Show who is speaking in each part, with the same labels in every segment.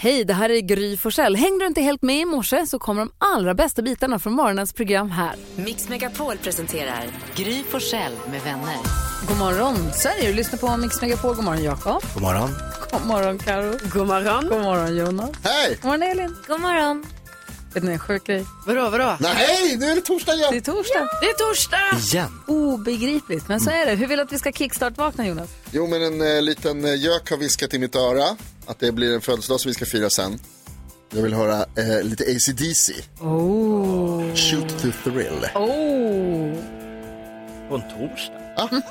Speaker 1: Hej, det här är Gry Forssell. Hängde du inte helt med i morse så kommer de allra bästa bitarna från morgonens program här.
Speaker 2: Mix Megapol presenterar Gry Forssell med vänner.
Speaker 1: God morgon Sverige, du lyssnar på Mix Megapol. God morgon Jakob.
Speaker 3: God morgon.
Speaker 1: God morgon Karo. God morgon. God morgon Jonas.
Speaker 3: Hej!
Speaker 1: God morgon Elin. God morgon. Vet ni en sjuk grej?
Speaker 4: Vadå, vadå?
Speaker 3: Nej, nu är det torsdag igen!
Speaker 1: Det är torsdag.
Speaker 4: Det är torsdag!
Speaker 3: Igen?
Speaker 1: Obegripligt, men så är det. Hur vill du att vi ska kickstart-vakna Jonas?
Speaker 3: Jo, men en eh, liten eh, gök har viskat i mitt öra att det blir en födelsedag som vi ska fira sen. Jag vill höra eh, lite ACDC.
Speaker 1: Oh.
Speaker 3: Shoot to thrill.
Speaker 1: Oh.
Speaker 5: På en torsdag?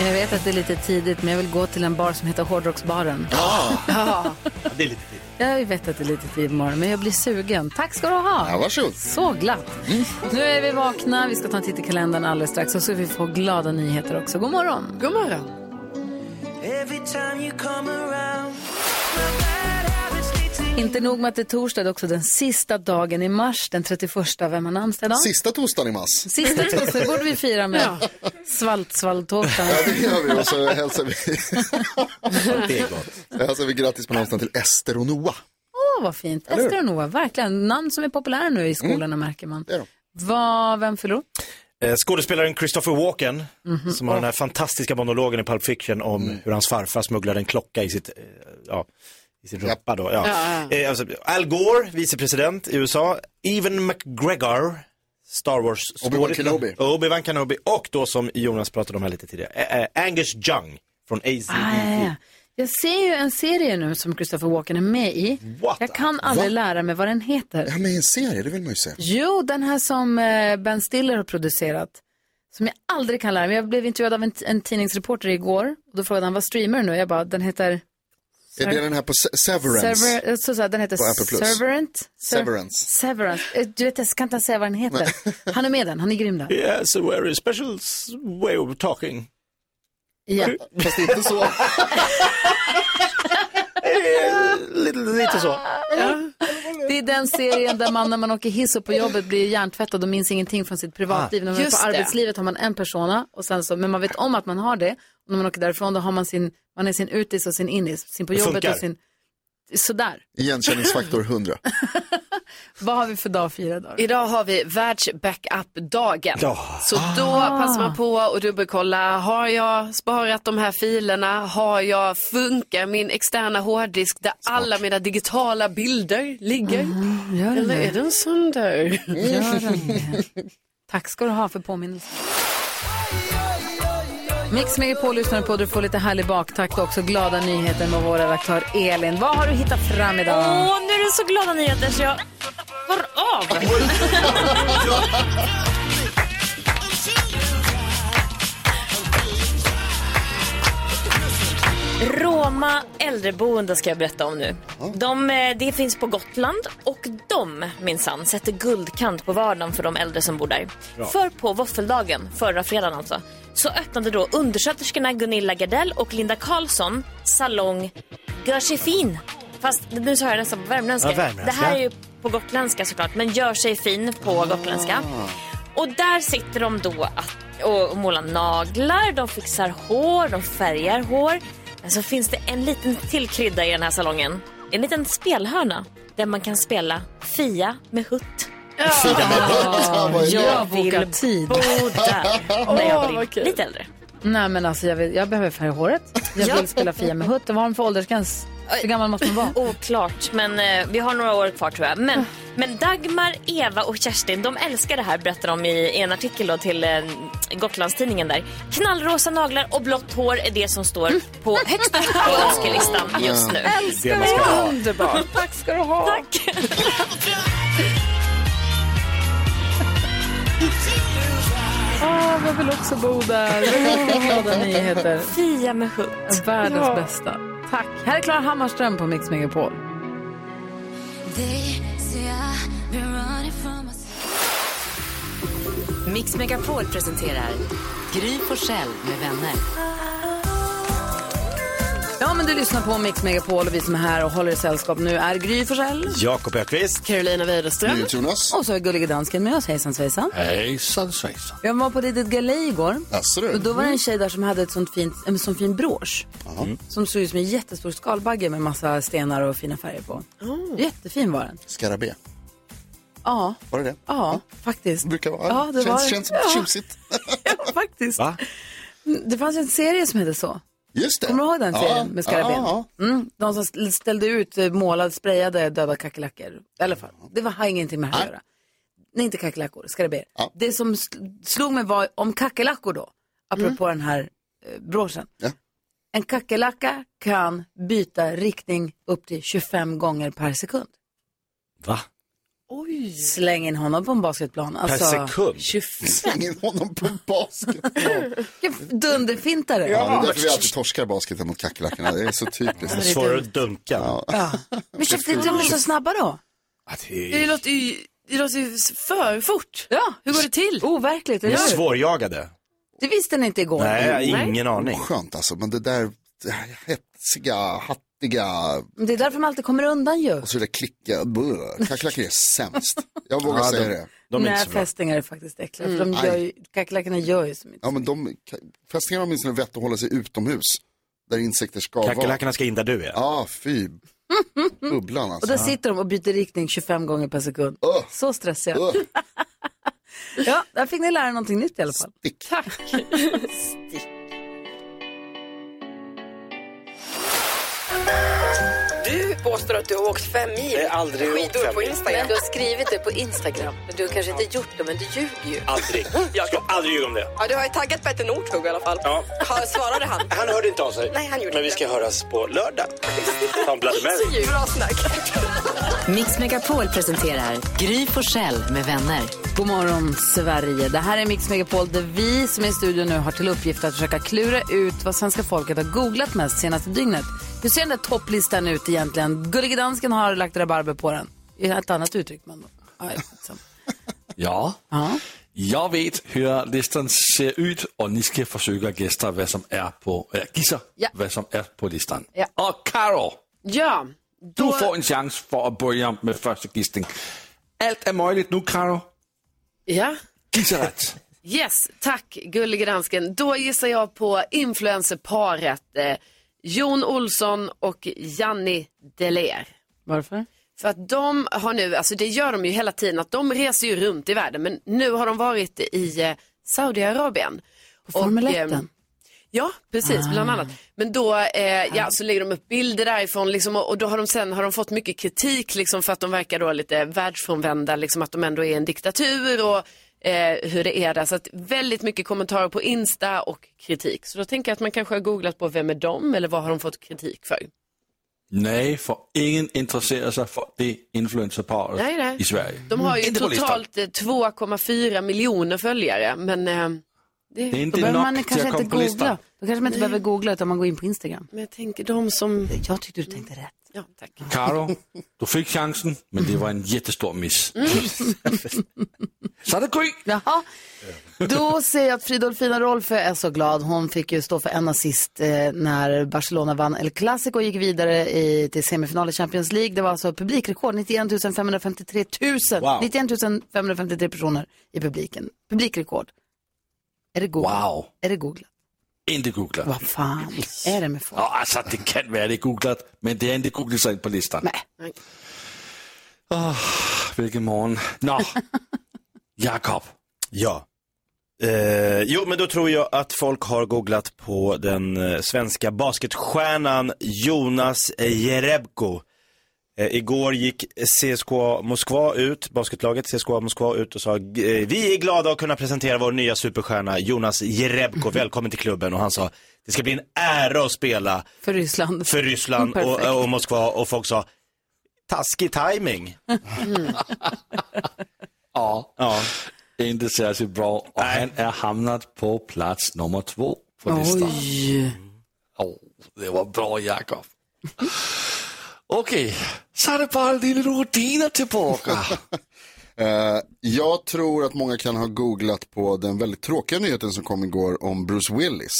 Speaker 1: Jag vet att det är lite tidigt, men jag vill gå till en bar som heter Hårdrocksbaren.
Speaker 5: Ja, det är lite tidigt.
Speaker 1: Jag vet att det är lite tid imorgon, men jag blir sugen. Tack ska du ha.
Speaker 3: Ja, varsågod.
Speaker 1: Så glatt. Nu är vi vakna, vi ska ta en titt i kalendern alldeles strax och så vi får glada nyheter också. God morgon.
Speaker 4: God morgon.
Speaker 1: Inte nog med att det är torsdag, det är också den sista dagen i mars, den 31. Vem har namnsdag idag?
Speaker 3: Sista torsdagen i mars.
Speaker 1: Sista torsdag borde vi fira med svaltsvalltårta.
Speaker 3: Ja, det gör vi och så hälsar vi,
Speaker 5: Det är gott.
Speaker 3: hälsar vi grattis på namnsdagen till Ester och Noah.
Speaker 1: Åh, vad fint. Ester och Noah, verkligen. Namn som är populära nu i skolorna märker man.
Speaker 3: Mm. Det är de.
Speaker 1: Vad, vem förlorar?
Speaker 5: Eh, Skådespelaren Christopher Walken, som har den här fantastiska monologen i Pulp Fiction om hur hans farfar smugglade en klocka i sitt, eh, ja, i sin rumpa då. Ja. Eh, alltså, Al Gore, vicepresident i USA, Even McGregor, Star Wars
Speaker 3: Obi-Wan Kenobi.
Speaker 5: Obi-Wan Kenobi och då som Jonas pratade om här lite tidigare, eh, eh, Angus Jung från ACDC.
Speaker 1: Ah, ja. Jag ser ju en serie nu som Christopher Walken är med i.
Speaker 5: What?
Speaker 1: Jag kan aldrig lära mig vad den heter.
Speaker 3: Ja, men i en serie, det vill man ju se.
Speaker 1: Jo, den här som eh, Ben Stiller har producerat. Som jag aldrig kan lära mig. Jag blev intervjuad av en, en tidningsreporter igår. Och då frågade han, vad streamar du nu? Jag bara, den heter...
Speaker 3: Är det den här på Se- Severance?
Speaker 1: Sever, eh, så, så, här, den heter
Speaker 3: På Apple Plus.
Speaker 1: Serverant. Ser-
Speaker 3: Severance.
Speaker 1: Severance. Eh, Du vet, jag kan inte säga vad den heter. Han är med den, han är grym där.
Speaker 5: Yes, a very special s- way of talking.
Speaker 1: Ja.
Speaker 3: Fast inte så.
Speaker 5: Eh, lite, lite så.
Speaker 1: Det är den serien där man när man åker hiss upp på jobbet blir hjärntvättad och minns ingenting från sitt privatliv. när man är
Speaker 4: just
Speaker 1: på
Speaker 4: det.
Speaker 1: arbetslivet har man en persona, och sen så, men man vet om att man har det. Och när man åker därifrån då har man sin, man är sin utis och sin inis, sin på
Speaker 5: Det
Speaker 1: jobbet
Speaker 5: funkar.
Speaker 1: och sin... Sådär.
Speaker 3: Igenkänningsfaktor 100.
Speaker 1: Vad har vi för dag fyra dagar?
Speaker 4: Idag har vi världsbackup-dagen.
Speaker 5: Ja.
Speaker 4: Så då passar man på och dubbelkolla. Har jag sparat de här filerna? Har jag, funkar min externa hårddisk där alla mina digitala bilder ligger?
Speaker 6: Mm.
Speaker 1: Gör den
Speaker 4: Eller är
Speaker 1: det?
Speaker 4: den sönder?
Speaker 1: Gör den det? Tack ska du ha för påminnelsen. Mix Megapol lyssnar på, du får lite härlig baktakt och också glada nyheter med vår redaktör Elin. Vad har du hittat fram idag?
Speaker 7: Åh, nu är det så glada nyheter så jag går av. Roma äldreboende ska jag berätta om nu. De, eh, det finns på Gotland och de minsann sätter guldkant på vardagen för de äldre som bor där. För på våffeldagen, förra fredagen alltså, så öppnade då undersköterskorna Gunilla Gardell och Linda Karlsson salong Gör sig fin. Fast nu sa jag nästan på värmländska.
Speaker 5: Ja, värmländska. Ah.
Speaker 7: Det här är ju på gotländska såklart, men Gör sig fin på gotländska. Och där sitter de då att, och, och målar naglar, de fixar hår, de färgar hår. Men så finns det en liten till krydda i den här salongen. En liten spelhörna där man kan spela Fia med Hutt.
Speaker 3: Ja, vad är det?
Speaker 1: Jag bokar tid.
Speaker 7: bo där när jag blir lite äldre.
Speaker 1: Nej men alltså jag, vill, jag behöver färga håret. Jag vill spela Fia med Hutt. Vad har de för åldersgräns? Hur gammal måste man vara? Ah.
Speaker 7: Oklart, men eh, vi har några år kvar tror jag. Men, men Dagmar, Eva och Kerstin, de älskar det här berättar de i, i en artikel då till eh, Gotlandstidningen där. Knallrosa naglar och blått hår är det som står på högst upp på önskelistan just nu.
Speaker 5: Det man ska ha.
Speaker 4: Underbart.
Speaker 1: Tack ska du ha.
Speaker 7: Tack!
Speaker 1: Ah, jag vill också bo där. Glada nyheter.
Speaker 7: Fia med hund.
Speaker 1: Världens bästa. Tack. Här är Klara Hammarström på Mix Megapol.
Speaker 2: Mix Megapol presenterar Gry Forssell med vänner.
Speaker 1: Ja men du lyssnar på Mix Megapol och vi som är här och håller i sällskap nu är Gry Forssell.
Speaker 5: Jakob Ökvist.
Speaker 4: Carolina Widerström.
Speaker 3: Jonas.
Speaker 1: Och så är Gullige Dansken med oss. Hejsan svejsan.
Speaker 8: Hejsan svejsan.
Speaker 1: Jag var på ett litet galej igår.
Speaker 3: Jaså
Speaker 1: Och
Speaker 3: du?
Speaker 1: då var det en tjej där som hade ett sånt fint, en sån fin brosch. Som såg ut som en jättestor skalbagge med massa stenar och fina färger på. Jättefin var den.
Speaker 3: Skarabé.
Speaker 1: Oh. Ja,
Speaker 3: Var det det?
Speaker 1: ja, faktiskt.
Speaker 3: Det brukar vara.
Speaker 1: Ja, det
Speaker 3: känns,
Speaker 1: var det.
Speaker 3: känns
Speaker 1: Ja.
Speaker 3: tjusigt.
Speaker 1: Ja, faktiskt.
Speaker 5: Va?
Speaker 1: Det fanns en serie som hette så.
Speaker 3: Just det.
Speaker 1: Kommer du ihåg den serien
Speaker 3: Ja,
Speaker 1: med skarabén?
Speaker 3: Ja,
Speaker 1: Mm, de som st- ställde ut eh, målade, sprayade döda kackerlackor. I alla fall, det var, har ingenting med det här att
Speaker 3: Nej.
Speaker 1: göra. Nej, inte kackerlackor, skarabéer.
Speaker 3: Ja.
Speaker 1: Det som sl- slog mig var om kackerlackor då, apropå den här eh, broschen.
Speaker 3: Mm. Ja.
Speaker 1: En kackerlacka kan byta riktning upp till 25 gånger per sekund.
Speaker 5: Va?
Speaker 1: Släng in honom på en basketplan.
Speaker 5: Per
Speaker 1: Alltså,
Speaker 5: sekund?
Speaker 3: ja. Slänger honom på basket. Ja.
Speaker 1: vilken dunderfintare.
Speaker 3: Ja, det är därför vi alltid torskar basketen mot kackerlackorna. Det är så typiskt.
Speaker 5: Svårare att dunka.
Speaker 1: Men shit, det- de är så snabba då.
Speaker 5: Ja, det
Speaker 4: Det
Speaker 5: är...
Speaker 4: låter ju det låter ju för fort.
Speaker 1: Ja,
Speaker 4: Hur går det till?
Speaker 1: Overkligt,
Speaker 5: De
Speaker 1: eller
Speaker 5: är
Speaker 1: hur?
Speaker 5: svårjagade.
Speaker 1: Det visste ni inte igår. Mm.
Speaker 5: Nej, ingen aning.
Speaker 3: Skönt alltså, men det där det här hetsiga, hattiga
Speaker 1: Men Det är därför man alltid kommer undan ju.
Speaker 3: och så det där klicka. brr. Kackerlackor är sämst. Jag vågar
Speaker 5: Ja,
Speaker 3: säga
Speaker 5: de-
Speaker 3: det.
Speaker 5: De är inte
Speaker 1: Nej,
Speaker 5: så bra. Mm.
Speaker 1: fästingar är faktiskt äckliga. För de gör ju, kackerlackorna gör ju som inte.
Speaker 3: Ja, men de, fästingar har åtminstone vett att hålla sig utomhus. Där insekter ska vara.
Speaker 5: Kackerlackorna ska in där du är.
Speaker 3: Ja, fy. Bubblan
Speaker 1: Och
Speaker 3: alltså.
Speaker 1: där sitter de och byter riktning 25 gånger per sekund.
Speaker 3: Ugh.
Speaker 1: Så stressiga.
Speaker 3: Ugh,
Speaker 1: Ja, där fick ni lära er någonting nytt i alla fall.
Speaker 3: stick.
Speaker 6: Du påstår att du har åkt fem mil
Speaker 9: Jag har aldrig åkt
Speaker 6: skidor
Speaker 9: fem
Speaker 6: på
Speaker 9: mil.
Speaker 6: Instagram.
Speaker 1: Du har skrivit det på Instagram, men du har kanske inte gjort det, men du ljuger ju.
Speaker 9: Aldrig. Jag ska aldrig ljuga om det.
Speaker 6: Ja, du har ju taggat Petter Northug i alla fall.
Speaker 9: Ja.
Speaker 6: Har, svarade han?
Speaker 9: Han hörde inte av sig.
Speaker 6: Nej, han gjorde
Speaker 9: Men vi
Speaker 6: inte.
Speaker 9: ska höras på lördag. Han blandade
Speaker 1: Alltså,
Speaker 9: med.
Speaker 6: Bra snack.
Speaker 2: Mix Megapol presenterar Gry Forssell med vänner.
Speaker 1: God morgon, Sverige. Det här är Mix Megapol där vi som är i studion nu har till uppgift att försöka klura ut vad svenska folket har googlat mest senaste dygnet. Hur ser den där topplistan ut egentligen? Gullige dansken har lagt rabarber på den. I ett annat uttryck, men... Ja, liksom.
Speaker 8: Ja,
Speaker 1: ja.
Speaker 8: jag vet hur listan ser ut och ni ska försöka gissa vad som är på, äh, gissa
Speaker 1: Ja.
Speaker 8: vad som är på listan.
Speaker 1: Ja.
Speaker 8: Och Karo,
Speaker 4: Ja,
Speaker 8: du får en chans för att börja med första gissning. Allt är möjligt nu Karo.
Speaker 4: ja.
Speaker 8: Gissa rätt.
Speaker 4: Yes, tack gullige dansken. Då gissar jag på influencerparet eh, Jon Olsson och Janni Deler.
Speaker 1: Varför?
Speaker 4: För att de har nu, alltså det gör de ju hela tiden, att de reser ju runt i världen. Men nu har de varit i eh, Saudiarabien.
Speaker 1: På Formel Ah. 1
Speaker 4: eh, Ja, precis, bland annat. Men då eh, ja, så lägger de upp bilder därifrån liksom, och, och då har de sen har de fått mycket kritik liksom, för att de verkar då lite världsfrånvända, liksom, att de ändå är en diktatur och eh, hur det är där. Så att väldigt mycket kommentarer på Insta och kritik. Så då tänker jag att man kanske har googlat på vem är de eller vad har de fått kritik för?
Speaker 8: Nej, för ingen intresserar sig för det influencerparet
Speaker 4: Nej, nej.
Speaker 8: i Sverige.
Speaker 4: De har ju
Speaker 8: Inte på listan.
Speaker 4: totalt eh, 2,4 miljoner följare, men eh, det,
Speaker 8: Det är
Speaker 1: Då
Speaker 8: inte
Speaker 1: behöver
Speaker 8: nog
Speaker 1: man
Speaker 8: till
Speaker 1: kanske
Speaker 8: att
Speaker 1: inte
Speaker 8: komma på listan.
Speaker 1: googla. Då kanske man inte behöver googla utan man går in på Instagram.
Speaker 4: men jag tänker de som...
Speaker 1: Jag tyckte du tänkte rätt.
Speaker 4: Ja, tack.
Speaker 8: Karo, du fick chansen, men det var en
Speaker 1: Mm.
Speaker 8: jättestor miss. Så är det Gry.
Speaker 1: Jaha. Då ser jag att Fridolfina Rolfö är så glad. Hon fick ju stå för en assist eh, när Barcelona vann El Clasico och gick vidare i, till semifinal i Champions League. Det var alltså publikrekord, 91 553 000.
Speaker 5: Wow.
Speaker 1: 91 553 personer i publiken. Publikrekord. Är det googlat?
Speaker 8: Wow. Ah,
Speaker 1: Är det googlat?
Speaker 8: Inte googla.
Speaker 1: Vad fan är det med folk?
Speaker 8: Ja, alltså, det kan vara det är googlat, men det är inte googlat sig på listan.
Speaker 1: Nej.
Speaker 8: Ah, vilken morgon. Nå, Jakob.
Speaker 5: Ja. Eh, jo, men då tror jag att folk har googlat på den eh, svenska basketstjärnan Jonas Jerebko. Eh, igår gick CSKA Moskva ut, basketlaget CSKA Moskva ut och sa eh, vi är glada att kunna presentera vår nya superstjärna Jonas Jerebko. Välkommen till klubben och han sa det ska bli en ära att spela
Speaker 1: För Ryssland.
Speaker 5: för Ryssland
Speaker 1: Perfekt.
Speaker 5: och, och Moskva och folk sa taskig timing.
Speaker 8: Ja.
Speaker 5: Ja.
Speaker 8: Inte särskilt bra. Och han är hamnat på plats nummer två på listan.
Speaker 1: Oj.
Speaker 8: Åh, det var bra Jakob. Okej, så är det bara lille rutiner tillbaka.
Speaker 3: Eh, jag tror att många kan ha googlat på den väldigt tråkiga nyheten som kom igår om Bruce Willis.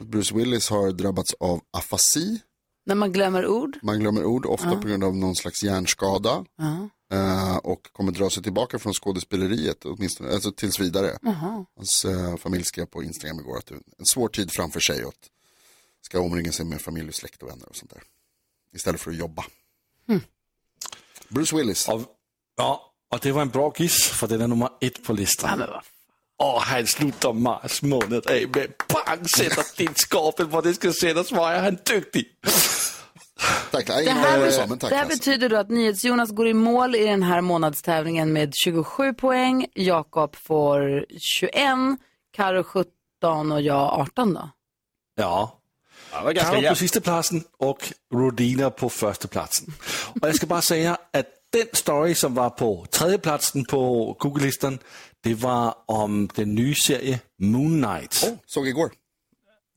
Speaker 3: Att Bruce Willis har drabbats av afasi.
Speaker 1: När man glömmer ord.
Speaker 3: Man glömmer ord ofta på grund av någon slags hjärnskada. Eh, och kommer dra sig tillbaka från skådespeleriet åtminstone, alltså tills vidare. Hans eh, familj skrev på Instagram igår att det är en svår tid framför sig och att ska omringa sig med familj och släkt och vänner och sånt där. Istället för att jobba. Bruce Willis.
Speaker 8: Och, ja, och det var en bra giss för den är nummer ett på listan. Och han slutar mars månad av med pang, sätter din skapel var det ska sättas var är han duktig.
Speaker 3: Tack, nej,
Speaker 1: Det
Speaker 3: ingen
Speaker 1: här,
Speaker 3: bra USA, men tack.
Speaker 1: det här
Speaker 3: Lasse.
Speaker 1: betyder då att NyhetsJonas går i mål i den här månadstävlingen med 27 poäng. Jakob får 21, Karo 17 och jag 18 då.
Speaker 8: Ja.
Speaker 5: var ganska
Speaker 8: Carro på
Speaker 5: jämnt.
Speaker 8: sista platsen och Rodina på första platsen. Och jag ska bara säga att den story som var på tredje platsen på Google-listan, det var om den nya serien Moon Knight.
Speaker 3: Såg igår.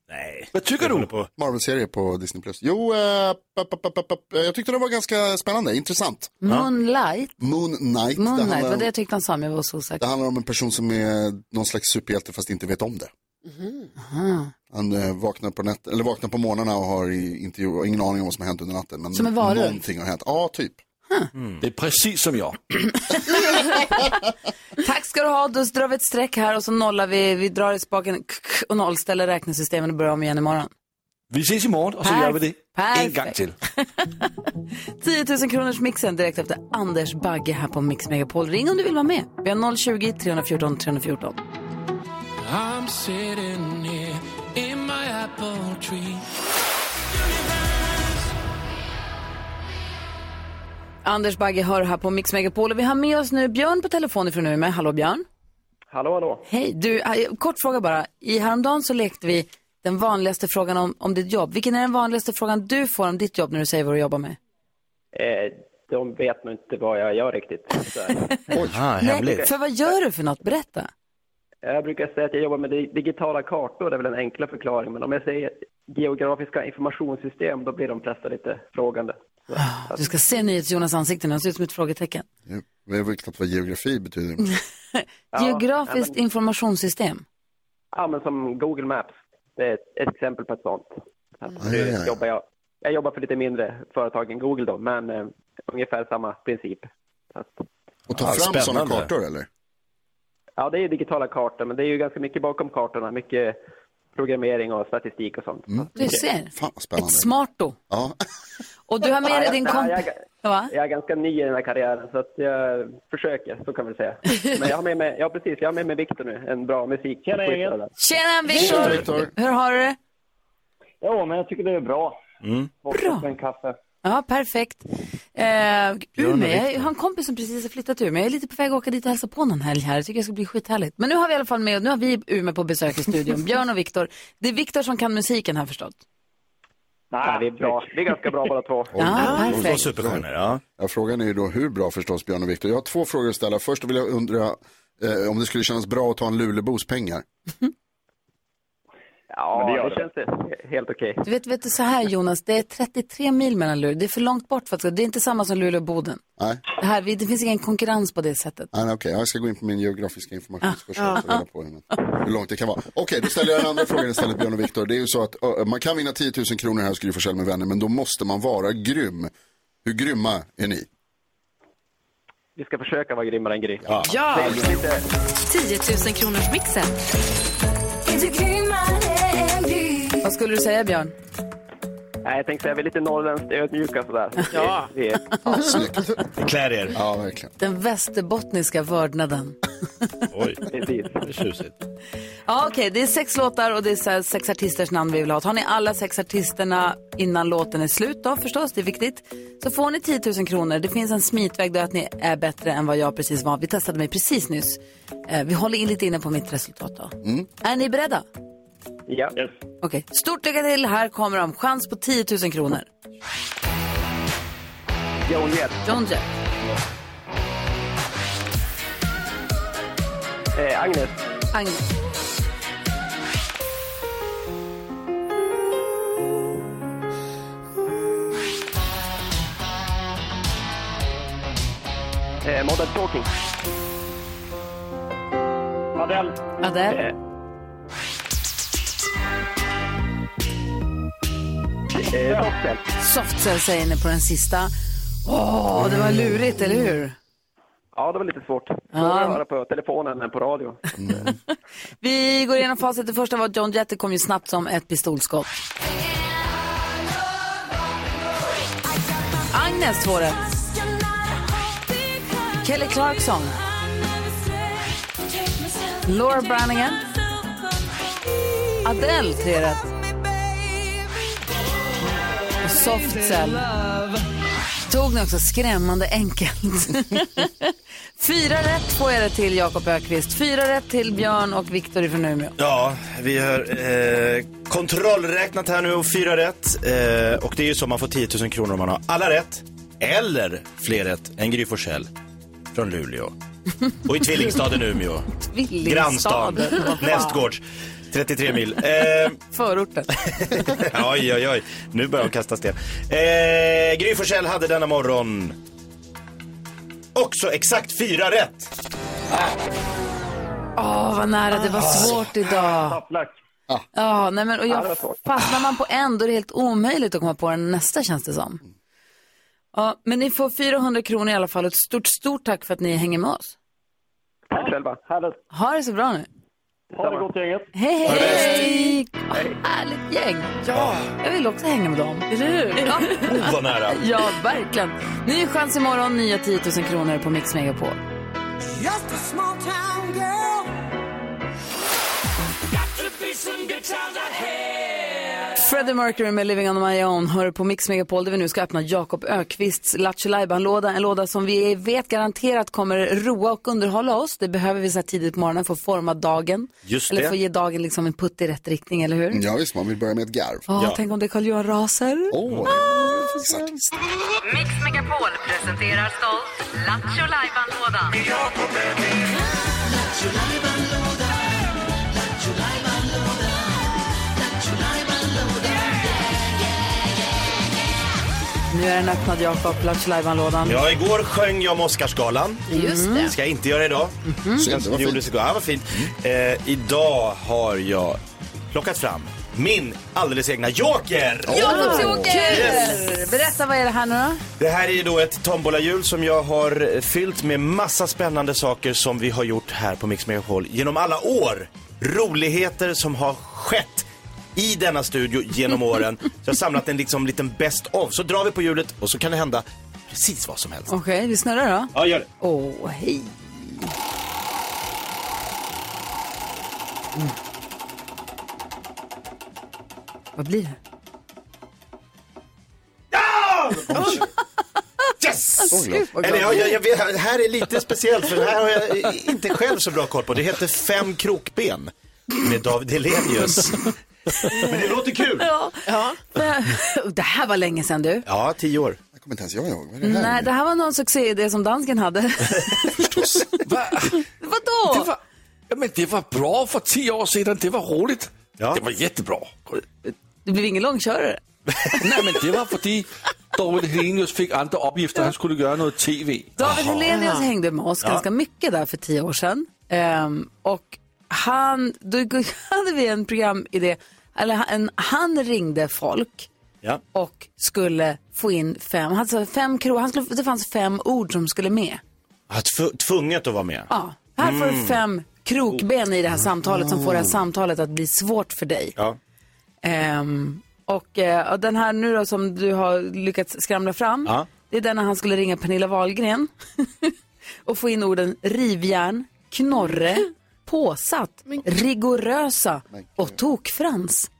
Speaker 5: Nej.
Speaker 8: Vad tycker
Speaker 5: Jag
Speaker 8: du?
Speaker 5: håller på-
Speaker 3: Marvel-serie på Disney+. Plus. Jo, eh, papp, papp, papp, papp, papp. jag tyckte det var ganska spännande, intressant.
Speaker 1: Moonlight,
Speaker 3: Moon Knight. det,
Speaker 1: Moonlight,
Speaker 3: handlar
Speaker 1: vad det
Speaker 3: om,
Speaker 1: jag tyckte han sa, men jag var så osäker.
Speaker 3: det handlar om en person som är någon slags superhjälte fast inte vet om det. Han eh, vaknar, på natt, eller vaknar på morgnarna och har i- inte, ju- ingen aning om vad som har hänt under natten. Men
Speaker 1: Som en varulv.
Speaker 3: någonting har hänt. Ja, typ.
Speaker 5: Mm.
Speaker 8: Det är precis som jag.
Speaker 1: Tack ska du ha, då drar vi ett streck här och så nollar vi, vi drar i spaken och nollställer räknesystemen och börjar om igen imorgon.
Speaker 8: Vi ses imorgon och så
Speaker 1: Perf-
Speaker 8: gör vi det en
Speaker 1: perfekt.
Speaker 8: gång till.
Speaker 1: 10 000 kronors mixen direkt efter Anders Bagge här på Mix Megapol. Ring om du vill vara med. Vi har 020 314 314. Anders Bagge hör här på Mix Megapol och vi har med oss nu Björn på telefon ifrån Umeå. Hallå Björn.
Speaker 9: Hallå, hallå.
Speaker 1: Hej, du, eh, kort fråga bara. I häromdagen så lekte vi den vanligaste frågan om, om ditt jobb. Vilken är den vanligaste frågan du får om ditt jobb när du säger vad du jobbar med?
Speaker 9: Eh, de vet nog inte vad jag gör riktigt. Så,
Speaker 5: Oj,
Speaker 9: Ah,
Speaker 3: Ah,
Speaker 5: hemligt.
Speaker 1: för vad gör du för något? Berätta.
Speaker 9: jag brukar säga att jag jobbar med di- digitala kartor, det är väl en enklare förklaring. Men om jag säger geografiska informationssystem, då blir de flesta lite frågande.
Speaker 1: Du ska se NyhetsJonas ansikte nu, han ser ut som ett frågetecken.
Speaker 3: Jag- Jag vet knappt vad geografi betyder.
Speaker 1: Geografiskt informationssystem.
Speaker 9: Ja, men som Google Maps, det är ett, ett exempel på ett sånt. Alltså,
Speaker 3: Ah, Ja, ja, ja.
Speaker 9: Jobbar jag, jag jobbar för lite mindre företag än Google då, men eh, ungefär samma princip. Så att-
Speaker 3: Och ta
Speaker 5: Ja,
Speaker 3: fram sådana
Speaker 5: spännande.
Speaker 3: kartor eller?
Speaker 9: Ja, det är ju digitala kartor, men det är ju ganska mycket bakom kartorna. Mycket programmering och statistik och sånt.
Speaker 1: Du ser.
Speaker 3: Mm. Fan vad
Speaker 1: Ett
Speaker 3: spännande.
Speaker 1: smarto.
Speaker 3: Ja.
Speaker 1: Och du har med dig din
Speaker 9: Ja, jag-
Speaker 1: kompis. Va?
Speaker 9: Jag är ganska ny i den här karriären, så att jag försöker, så kan man säga. Men jag har med mig, ja, precis, jag har med mig Viktor nu, en bra musik. Tjena, gänget!
Speaker 1: Tjena Viktor! Hur har du det?
Speaker 9: Ja, men jag tycker det är bra.
Speaker 3: Mm.
Speaker 1: Bra.
Speaker 9: En kaffe.
Speaker 1: Ja, perfekt. Eh, Umeå, jag har en kompis som precis har flyttat till Umeå. Jag är lite på väg att åka dit och hälsa på någon helg här. Jag tycker det ska bli skithärligt. Men nu har vi i alla fall med, nu har vi Umeå på besök i studion. Björn och Viktor. Det är Viktor som kan musiken här förstått.
Speaker 9: Nej, vi är bra. Vi är ganska bra båda två.
Speaker 1: Ja,
Speaker 5: Två
Speaker 1: perfekt.
Speaker 5: superstjärnor, ja.
Speaker 3: Ja, frågan är ju då hur bra förstås Björn och Viktor. Jag har två frågor att ställa. Först vill jag undra eh, om det skulle kännas bra att ta en Lulebos pengar.
Speaker 9: Ja, det, det känns he- helt okej.
Speaker 1: Du vet, vet du så här Jonas, det är 33 mil mellan Luleå. Det är för långt bort för att det är inte samma som Luleå och Boden.
Speaker 3: Nej.
Speaker 1: Det, här, vi- det finns ingen konkurrens på det sättet.
Speaker 3: Ah, nej, Okej, jag ska gå in på min geografiska information först och ta reda på hur, hur långt det kan vara. Okej, då ställer jag den andra frågan istället, Björn och Viktor. Det är ju så att ö, man kan vinna 10 000 kronor här och skriva själv med vänner, men då måste man vara grym. Hur grymma är ni?
Speaker 9: Vi ska försöka vara grymmare än Gry.
Speaker 2: 10 000 kronors mixen.
Speaker 1: Vad skulle du säga Björn?
Speaker 9: Nej, jag tänkte säga vi är lite norrländskt ödmjuka sådär.
Speaker 4: Ja.
Speaker 9: Vi är,
Speaker 3: Ja, snyggt.
Speaker 5: Klär er.
Speaker 3: Ja, verkligen.
Speaker 1: Den västerbottniska vördnaden.
Speaker 5: Oj,
Speaker 9: precis.
Speaker 5: det är tjusigt.
Speaker 1: Ja, okej, det är sex låtar och det är så här sex artisters namn vi vill ha. Tar ni alla sex artisterna innan låten är slut då förstås, det är viktigt. Så får ni 10 000 kronor. Det finns en smitväg där att ni är bättre än vad jag precis var. Vi testade mig precis nyss. Eh, Vi håller in lite inne på mitt resultat då.
Speaker 3: Mm.
Speaker 1: Är ni beredda?
Speaker 9: Ja.
Speaker 1: Okej, stort lycka till. Här kommer de. Chans på 10 000 kronor.
Speaker 9: Joan Jett,
Speaker 1: John Jett,
Speaker 9: eh, Agnes,
Speaker 1: Agnes,
Speaker 9: eh, Modern Talking. Adele,
Speaker 1: Adele,
Speaker 9: eh, eh, Softcell,
Speaker 1: Softcell säger ni på den sista. Åh, det var lurigt, eller hur?
Speaker 9: Ja, det var lite svårt. Svårare att höra på telefonen än på radio.
Speaker 3: Mm.
Speaker 1: Vi går igenom facit. Det första var att John Jett det kom ju snabbt som ett pistolskott. Agnes får det. Kelly Clarkson. Laura Branningen. Adele, tre rätt. Och Softcell. Tog ni också skrämmande enkelt. Fyra rätt får jag det till Jakob Ökvist. Fyra rätt till Björn och Viktor från Umeå.
Speaker 5: Ja, vi har eh, kontrollräknat här nu och fyra rätt. Eh, och det är ju så man får 10 000 kronor om man har alla rätt eller fler rätt än Gry Forssell från Luleå. Och i tvillingstaden Umeå. Grannstad.
Speaker 1: Tvillingstaden. Vad fan.
Speaker 5: Nästgårds. 33 mil. Eh,
Speaker 1: Förorten.
Speaker 5: oj, oj, oj. Nu börjar hon kasta sten. Eh, Gry Forssell hade denna morgon också exakt fyra rätt.
Speaker 1: Åh, vad nära.
Speaker 9: Ah.
Speaker 1: Det var svårt idag.
Speaker 9: Tafflack.
Speaker 1: Ja, nej men, och
Speaker 9: Ah, det var
Speaker 1: jag,
Speaker 9: svårt.
Speaker 1: fastnar man på en då är det helt omöjligt att komma på den nästa känns det som. Ja, men ni får 400 kronor i alla fall och ett stort, stort tack för att ni hänger med oss.
Speaker 9: Tack själva. Härligt.
Speaker 1: Ha det så bra nu.
Speaker 9: Ha det gott gänget.
Speaker 1: Hej, hej! Vad Härligt gäng. Ja. Jag vill också hänga med dem. Eller hur? Ja,
Speaker 5: Oh, vad nära.
Speaker 1: ja verkligen. Ny chans imorgon, nya 10 000 kronor på Mix Megapol. Freddie Mercury med Living on my own hör på Mix Megapol där vi nu ska öppna Jakob Ökvists Lattjo låda En låda som vi vet garanterat kommer roa och underhålla oss. Det behöver vi så här tidigt på morgonen för att forma dagen.
Speaker 5: Just
Speaker 1: eller
Speaker 5: det.
Speaker 1: få ge dagen liksom en putt i rätt riktning, eller hur?
Speaker 3: Ja, visst, man vill börja med ett garv.
Speaker 1: Ja,
Speaker 5: Ja.
Speaker 1: tänk om det Carl-Johan raser.
Speaker 3: Åh, exakt.
Speaker 2: Mix Megapol presenterar stolt Lattjo Lajban-lådan.
Speaker 1: Nu är den öppnad, Jakob, Lattjo lådan
Speaker 5: Ja, igår sjöng jag om Oscarsgalan.
Speaker 4: Just det.
Speaker 5: Det ska jag inte göra idag. Mm.
Speaker 3: Synd, det var
Speaker 5: Det
Speaker 3: fint.
Speaker 5: gjordes igår. Ja, vad fint. Eh, idag har jag plockat fram min alldeles egna joker. Yes.
Speaker 1: Berätta, vad är det här nu då?
Speaker 5: Det här är ju då ett tombolahjul som jag har eh, fyllt med massa spännande saker som vi har gjort här på Mix Megapol genom alla år. Roligheter som har skett i denna studio genom åren. Så jag har samlat en liksom liten best of. Så drar vi på hjulet och så kan det hända precis vad som helst.
Speaker 1: Okej, vi snurrar då.
Speaker 5: Ja, gör det.
Speaker 1: Åh, hej. Mm. Vad blir det?
Speaker 5: Yes!
Speaker 1: Alltså, Gud, vad
Speaker 5: Eller, ja,
Speaker 1: glad.
Speaker 5: jag, jag vet, det här är lite speciellt för det här har jag eh, inte själv så bra koll på. Det heter Fem krokben med David Hellenius. Men det låter kul.
Speaker 1: Det här var länge sedan du.
Speaker 5: Ja, tio år.
Speaker 3: Jag kommer inte ens jag ihåg. Vad är det här?
Speaker 1: Nej, det här var någon succéidé som dansken hade.
Speaker 3: Förstås.
Speaker 8: Va?
Speaker 1: Vadå?
Speaker 8: Det var, jamen, det var bra för tio år sedan. Det var roligt.
Speaker 5: Ja.
Speaker 8: Det var jättebra.
Speaker 1: Det blev ingen långkörare.
Speaker 8: Nej, men det var fordi David Helenius fick andra uppgifter. Han skulle göra något tv.
Speaker 1: David
Speaker 10: Ah.
Speaker 1: Helenius hängde med oss ganska mycket där för tio år sedan. Ehm, och han, då hade vi en programidé, eller han, han ringde folk
Speaker 5: Ja.
Speaker 1: och skulle få in fem, han sa fem kro, han skulle, det fanns fem ord som skulle med.
Speaker 5: Ja, tv- tvunget att vara med.
Speaker 1: Ja, här får
Speaker 3: Mm.
Speaker 1: du fem
Speaker 3: Oh.
Speaker 1: krokben i det här samtalet som får det här samtalet att bli svårt för dig.
Speaker 5: Ja.
Speaker 1: Ehm, Och eh, och den här nu då som du har lyckats skramla fram,
Speaker 5: Ja.
Speaker 1: det är den när han skulle ringa Pernilla Wahlgren och få in orden rivjärn, knorre, påsatt, rigorösa och tokfrans.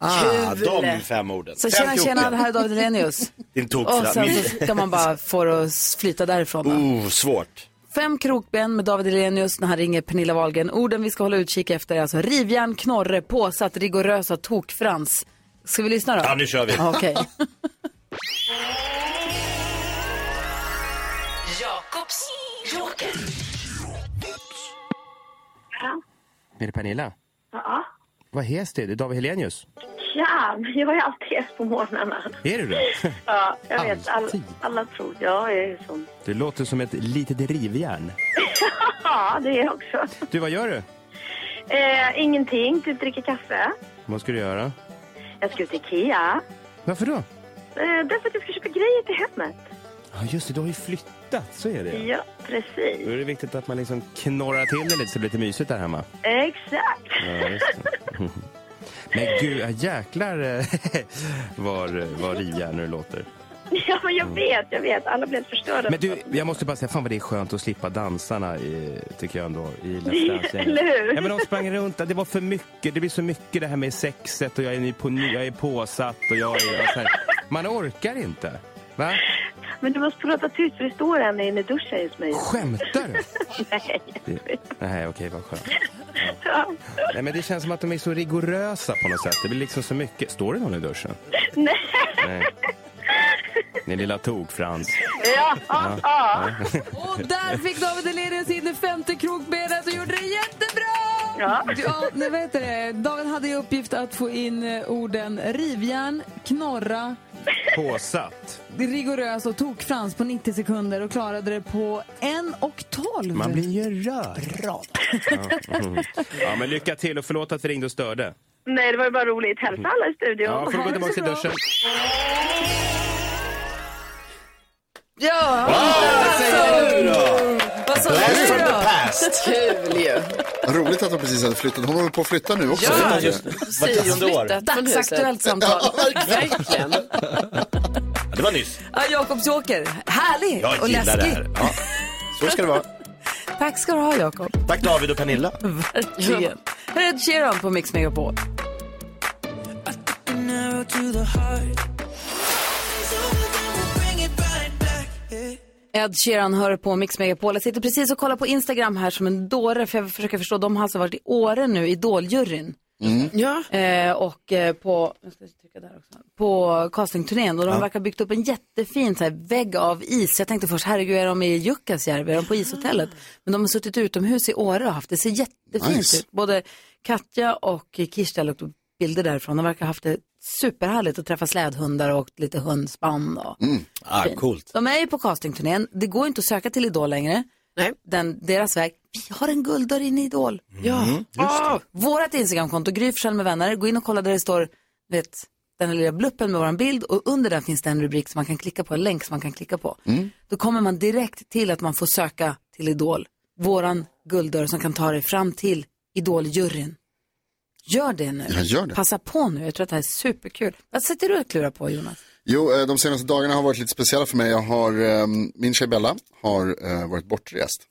Speaker 5: Ah,
Speaker 4: Kul.
Speaker 5: de fem orden.
Speaker 1: Så
Speaker 5: Fem
Speaker 1: tjena,
Speaker 5: till
Speaker 1: tjena,
Speaker 5: orden.
Speaker 1: det här är David Hellenius.
Speaker 5: Din
Speaker 1: Och
Speaker 5: tokfrans.
Speaker 1: sen så ska man bara få det att flyta därifrån. va?
Speaker 5: Oh, svårt.
Speaker 1: Fem krokben med David Hellenius när han ringer Pernilla Wahlgren. Orden vi ska hålla utkik efter är alltså rivjärn, knorre, påsatt, rigorösa, tokfrans. Ska vi lyssna då?
Speaker 5: Ja, nu kör vi.
Speaker 1: Okej.
Speaker 2: Jakobs joker.
Speaker 11: Är det Pernilla? Vad hes det? Det är David Helenius.
Speaker 12: Ja, men jag är alltid hes på morgnarna.
Speaker 11: Är du det?
Speaker 12: Ja, jag vet. All,
Speaker 11: Alltid?
Speaker 12: alla tror jag är sån.
Speaker 11: Du låter som ett litet rivjärn.
Speaker 12: Ja, det är jag också.
Speaker 11: Du, vad gör du?
Speaker 12: Eh, ingenting, typ dricka kaffe.
Speaker 11: Vad ska du göra?
Speaker 12: Jag ska ut till Ikea.
Speaker 11: Varför då?
Speaker 12: Eh, därför att jag ska köpa grejer till hemmet.
Speaker 11: Ja, just det. Du har ju flyttat. Så är det.
Speaker 12: Ja, precis.
Speaker 11: Då är det viktigt att man liksom knorrar till det lite så det blir lite mysigt där hemma.
Speaker 12: Exakt.
Speaker 11: Ja, just det. Men gud, ja, jäklar eh, var, var rivjärn du låter.
Speaker 12: Ja, men jag vet, jag vet. Alla blev förstörda.
Speaker 11: Mm. Men du, jag måste bara säga, fan vad det är skönt att slippa dansarna, i, tycker jag ändå, i Let's Dance.
Speaker 12: Eller hur?
Speaker 11: Ja, men de sprang runt där. Det var för mycket. Det blir så mycket det här med sexet och jag är, ny på, ny- jag är påsatt och jag är... Och så här. Man orkar inte. Va?
Speaker 12: Men du måste prata tyst, för det står en inne i duschen just nu.
Speaker 11: Skämtar du?
Speaker 12: Nej.
Speaker 11: Det- Nej, okej, vad skönt.
Speaker 12: Ja.
Speaker 11: Nej, men det känns som att de är så rigorösa på något sätt. Det blir liksom så mycket. Står det någon i duschen?
Speaker 12: Nej.
Speaker 11: Nej. Ni lilla tokfrans.
Speaker 12: Ja, ja, ja.
Speaker 1: Och där fick David Hellenius in det femte krokbenet och gjorde det jättebra!
Speaker 12: Ja.
Speaker 1: Ja, ni vet det. David hade i uppgift att få in eh, orden rivjärn, knorra,
Speaker 11: Påsatt.
Speaker 1: rigorös och tokfrans på 90 sekunder och klarade det på 1 och 12.
Speaker 11: Man blir ju rörd. Ja. Mm. ja, men lycka till och förlåt att vi ringde och störde.
Speaker 12: Nej, det var ju bara roligt. Hälsa alla i studion.
Speaker 11: Ja, får du gå tillbaka till duschen.
Speaker 1: Ja! Vad sa
Speaker 5: Blast
Speaker 1: du
Speaker 5: from the
Speaker 1: då?
Speaker 5: past.
Speaker 4: Kul ju.
Speaker 3: Roligt att hon precis hade flyttat. Hon håller på att flytta nu också.
Speaker 4: Ja,
Speaker 5: just
Speaker 4: Vart
Speaker 5: tionde år.
Speaker 1: Dagsaktuellt samtal.
Speaker 4: Verkligen.
Speaker 5: Ja, Det var nyss.
Speaker 1: Ja, Jakobs Joker. Härlig
Speaker 5: Jag
Speaker 1: och
Speaker 5: gillar det
Speaker 1: läskig.
Speaker 5: här. Ja. Så ska det vara.
Speaker 1: Tack ska du ha, Jakob.
Speaker 5: Tack David och Pernilla.
Speaker 1: Verkligen. Här är Ed Sheeran på Mix Megapol. Ed Sheeran hör på Mix Megapol. Jag sitter precis och kollar på Instagram här som en dåre för jag försöker förstå. De har alltså varit i Åre nu, Idoljuryn.
Speaker 4: Ja.
Speaker 1: Eh, och eh, på, jag ska trycka där också, på castingturnén och de verkar ha byggt upp en jättefin så här, vägg av is. Jag tänkte först, herregud är de i Jukkasjärvi, är de på ishotellet?
Speaker 4: Ah.
Speaker 1: Men de har suttit utomhus i Åre och haft det, ser jättefint
Speaker 3: Nice.
Speaker 1: ut. Både Katja och Kirsta har lagt upp bilder därifrån. De verkar ha haft det superhärligt att träffa slädhundar och åkt lite hundspann. Och
Speaker 9: Mm.
Speaker 5: Ah, coolt.
Speaker 1: De är ju på castingturnén, det går inte att söka till Idol längre.
Speaker 4: Nej.
Speaker 1: Den, deras väg, vi har en gulddörr in i Idol.
Speaker 9: Mm.
Speaker 4: Ja.
Speaker 1: Mm.
Speaker 4: Ah,
Speaker 1: Vårat Instagramkonto, Gry Forssell med vänner, gå in och kolla där det står, vet, den här lilla bluppen med våran bild och under den finns det en rubrik som man kan klicka på, en länk som man kan klicka på. Då kommer man direkt till att man får söka till Idol, våran gulddörr som kan ta dig fram till Idoljuryn. Gör det nu.
Speaker 3: Jag gör det.
Speaker 1: Passa på nu, jag tror att det här är superkul. Vad sitter du och klurar på Jonas?
Speaker 3: Jo, eh, de senaste dagarna har varit lite speciella för mig. Jag har, eh, min tjej Bella har eh, varit bortrest.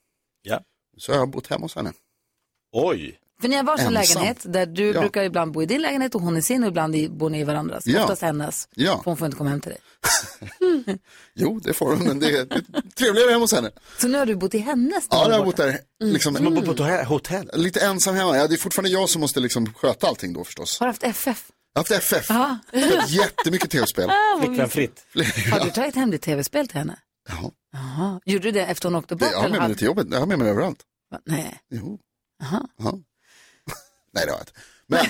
Speaker 5: Ja.
Speaker 3: Så jag har bott hemma hos henne.
Speaker 5: Oj.
Speaker 1: För ni har varsin
Speaker 3: Ensam.
Speaker 1: lägenhet där du
Speaker 3: Ja.
Speaker 1: brukar ibland bo i din lägenhet och hon i sin och ibland i- bor ni i varandras.
Speaker 3: Ja.
Speaker 1: Oftast hennes.
Speaker 3: Ja.
Speaker 1: För hon får inte komma hem till dig.
Speaker 3: Jo, det får hon, men det är det är trevligare hemma hos henne.
Speaker 1: Så nu har du bott i hennes när
Speaker 3: Ja,
Speaker 1: du
Speaker 3: jag har
Speaker 1: bor
Speaker 3: bott där.
Speaker 1: Mm.
Speaker 3: Liksom,
Speaker 5: Man bor på ett hotell- hotell.
Speaker 3: Lite ensam hemma. Ja, det är fortfarande jag som måste liksom sköta allting då förstås.
Speaker 1: Har du haft FF?
Speaker 3: Jag har haft FF. Spelat jättemycket tv-spel.
Speaker 1: Ah,
Speaker 5: Flickvänfritt.
Speaker 1: Har du tagit hem ditt tv-spel till henne?
Speaker 3: Ja.
Speaker 1: Jaha. Gjorde du det efter hon åkte
Speaker 3: Det,
Speaker 1: bort?
Speaker 3: jag har med mig det till jobbet. Jag har med mig överallt.
Speaker 1: Va? Nej.
Speaker 3: Jo. Ja. Nej, det har jag inte. Men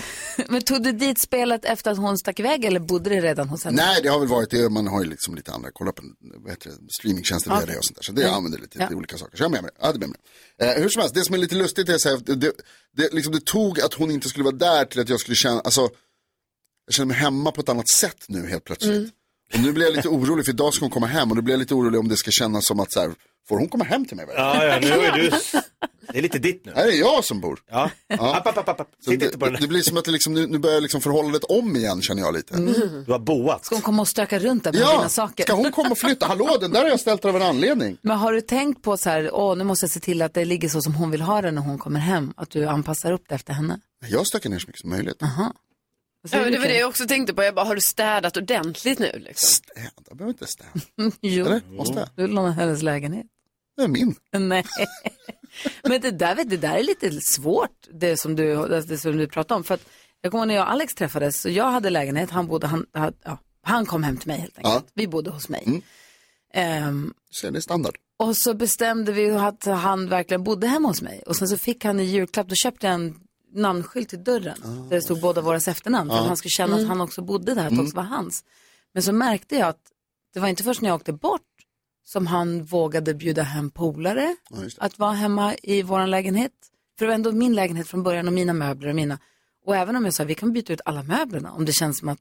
Speaker 1: Men tog du dit spelet efter att hon stack iväg eller bodde det redan hos henne?
Speaker 3: nej, det har väl varit det. Man har ju liksom lite andra. Kolla på en- vad heter det, streamingtjänster via det och sånt där. Så det jag använder lite
Speaker 1: Ja.
Speaker 3: till olika saker. Så jag har med mig det. Jag hade med mig det. Eh, hur som helst, det som är lite lustigt är så här, det, det, liksom, det tog att hon
Speaker 1: Mm.
Speaker 3: inte skulle vara där till att jag skulle känna, alltså, jag känner mig hemma på ett annat sätt nu helt plötsligt. Och nu blir jag lite orolig för idag ska hon komma hem och nu blir jag lite orolig om det ska kännas som att så här, får hon komma hem till mig? verkligen?
Speaker 5: Ja, ja, nu är du... Det är lite ditt nu.
Speaker 3: Här är jag som bor.
Speaker 5: Ja. App, app, app, app.
Speaker 3: Så
Speaker 5: Sitt
Speaker 3: det,
Speaker 5: inte på den.
Speaker 3: det blir som att det liksom, nu, nu börjar liksom förhållandet om igen känner jag lite.
Speaker 1: Mm.
Speaker 5: Du har boat.
Speaker 1: Ska hon komma och stöka runt där bland
Speaker 3: Ja,
Speaker 1: dina saker?
Speaker 3: ska hon komma och flytta? Hallå, den där har jag ställt av en anledning.
Speaker 1: Men har du tänkt på så här, åh, nu måste jag se till att det ligger så som hon vill ha det när hon kommer hem, att du anpassar upp det efter henne?
Speaker 3: Jag stökar ner så mycket som möjligt.
Speaker 1: Aha. Vad
Speaker 4: Ja,
Speaker 1: säger
Speaker 4: men
Speaker 1: du,
Speaker 4: det var det
Speaker 1: Karo?
Speaker 4: jag också tänkte på. Jag bara, har du städat ordentligt nu? Liksom?
Speaker 3: Jag behöver inte städa.
Speaker 1: jo,
Speaker 3: Eller? Måste jag?
Speaker 1: du lånar hennes lägenhet.
Speaker 3: Det är min.
Speaker 1: Nej. Men det där, vet, du, det där är lite svårt, det som du, det som du pratar om. För att jag kommer ihåg när jag och Alex träffades, så jag hade lägenhet, han, bodde, han, han- ja, han kom hem till mig helt enkelt. Vi bodde hos mig. Ehm,
Speaker 3: Mm. Så det är standard.
Speaker 1: och så bestämde vi att han verkligen bodde hemma hos mig. Och sen så fick han i julklapp, då köpte jag en namnskylt till dörren.
Speaker 3: Ah.
Speaker 1: Där det stod båda våras efternamn. För
Speaker 10: Ja.
Speaker 1: att han skulle känna att
Speaker 10: Mm.
Speaker 1: han också bodde där, att det
Speaker 10: Mm.
Speaker 1: också var hans. Men så märkte jag att det var inte först när jag åkte bort som han vågade bjuda hem polare. att vara hemma i vår lägenhet. För det var ändå min lägenhet från början och mina möbler och mina. Och även om jag sa vi kan byta ut alla möblerna om det känns som att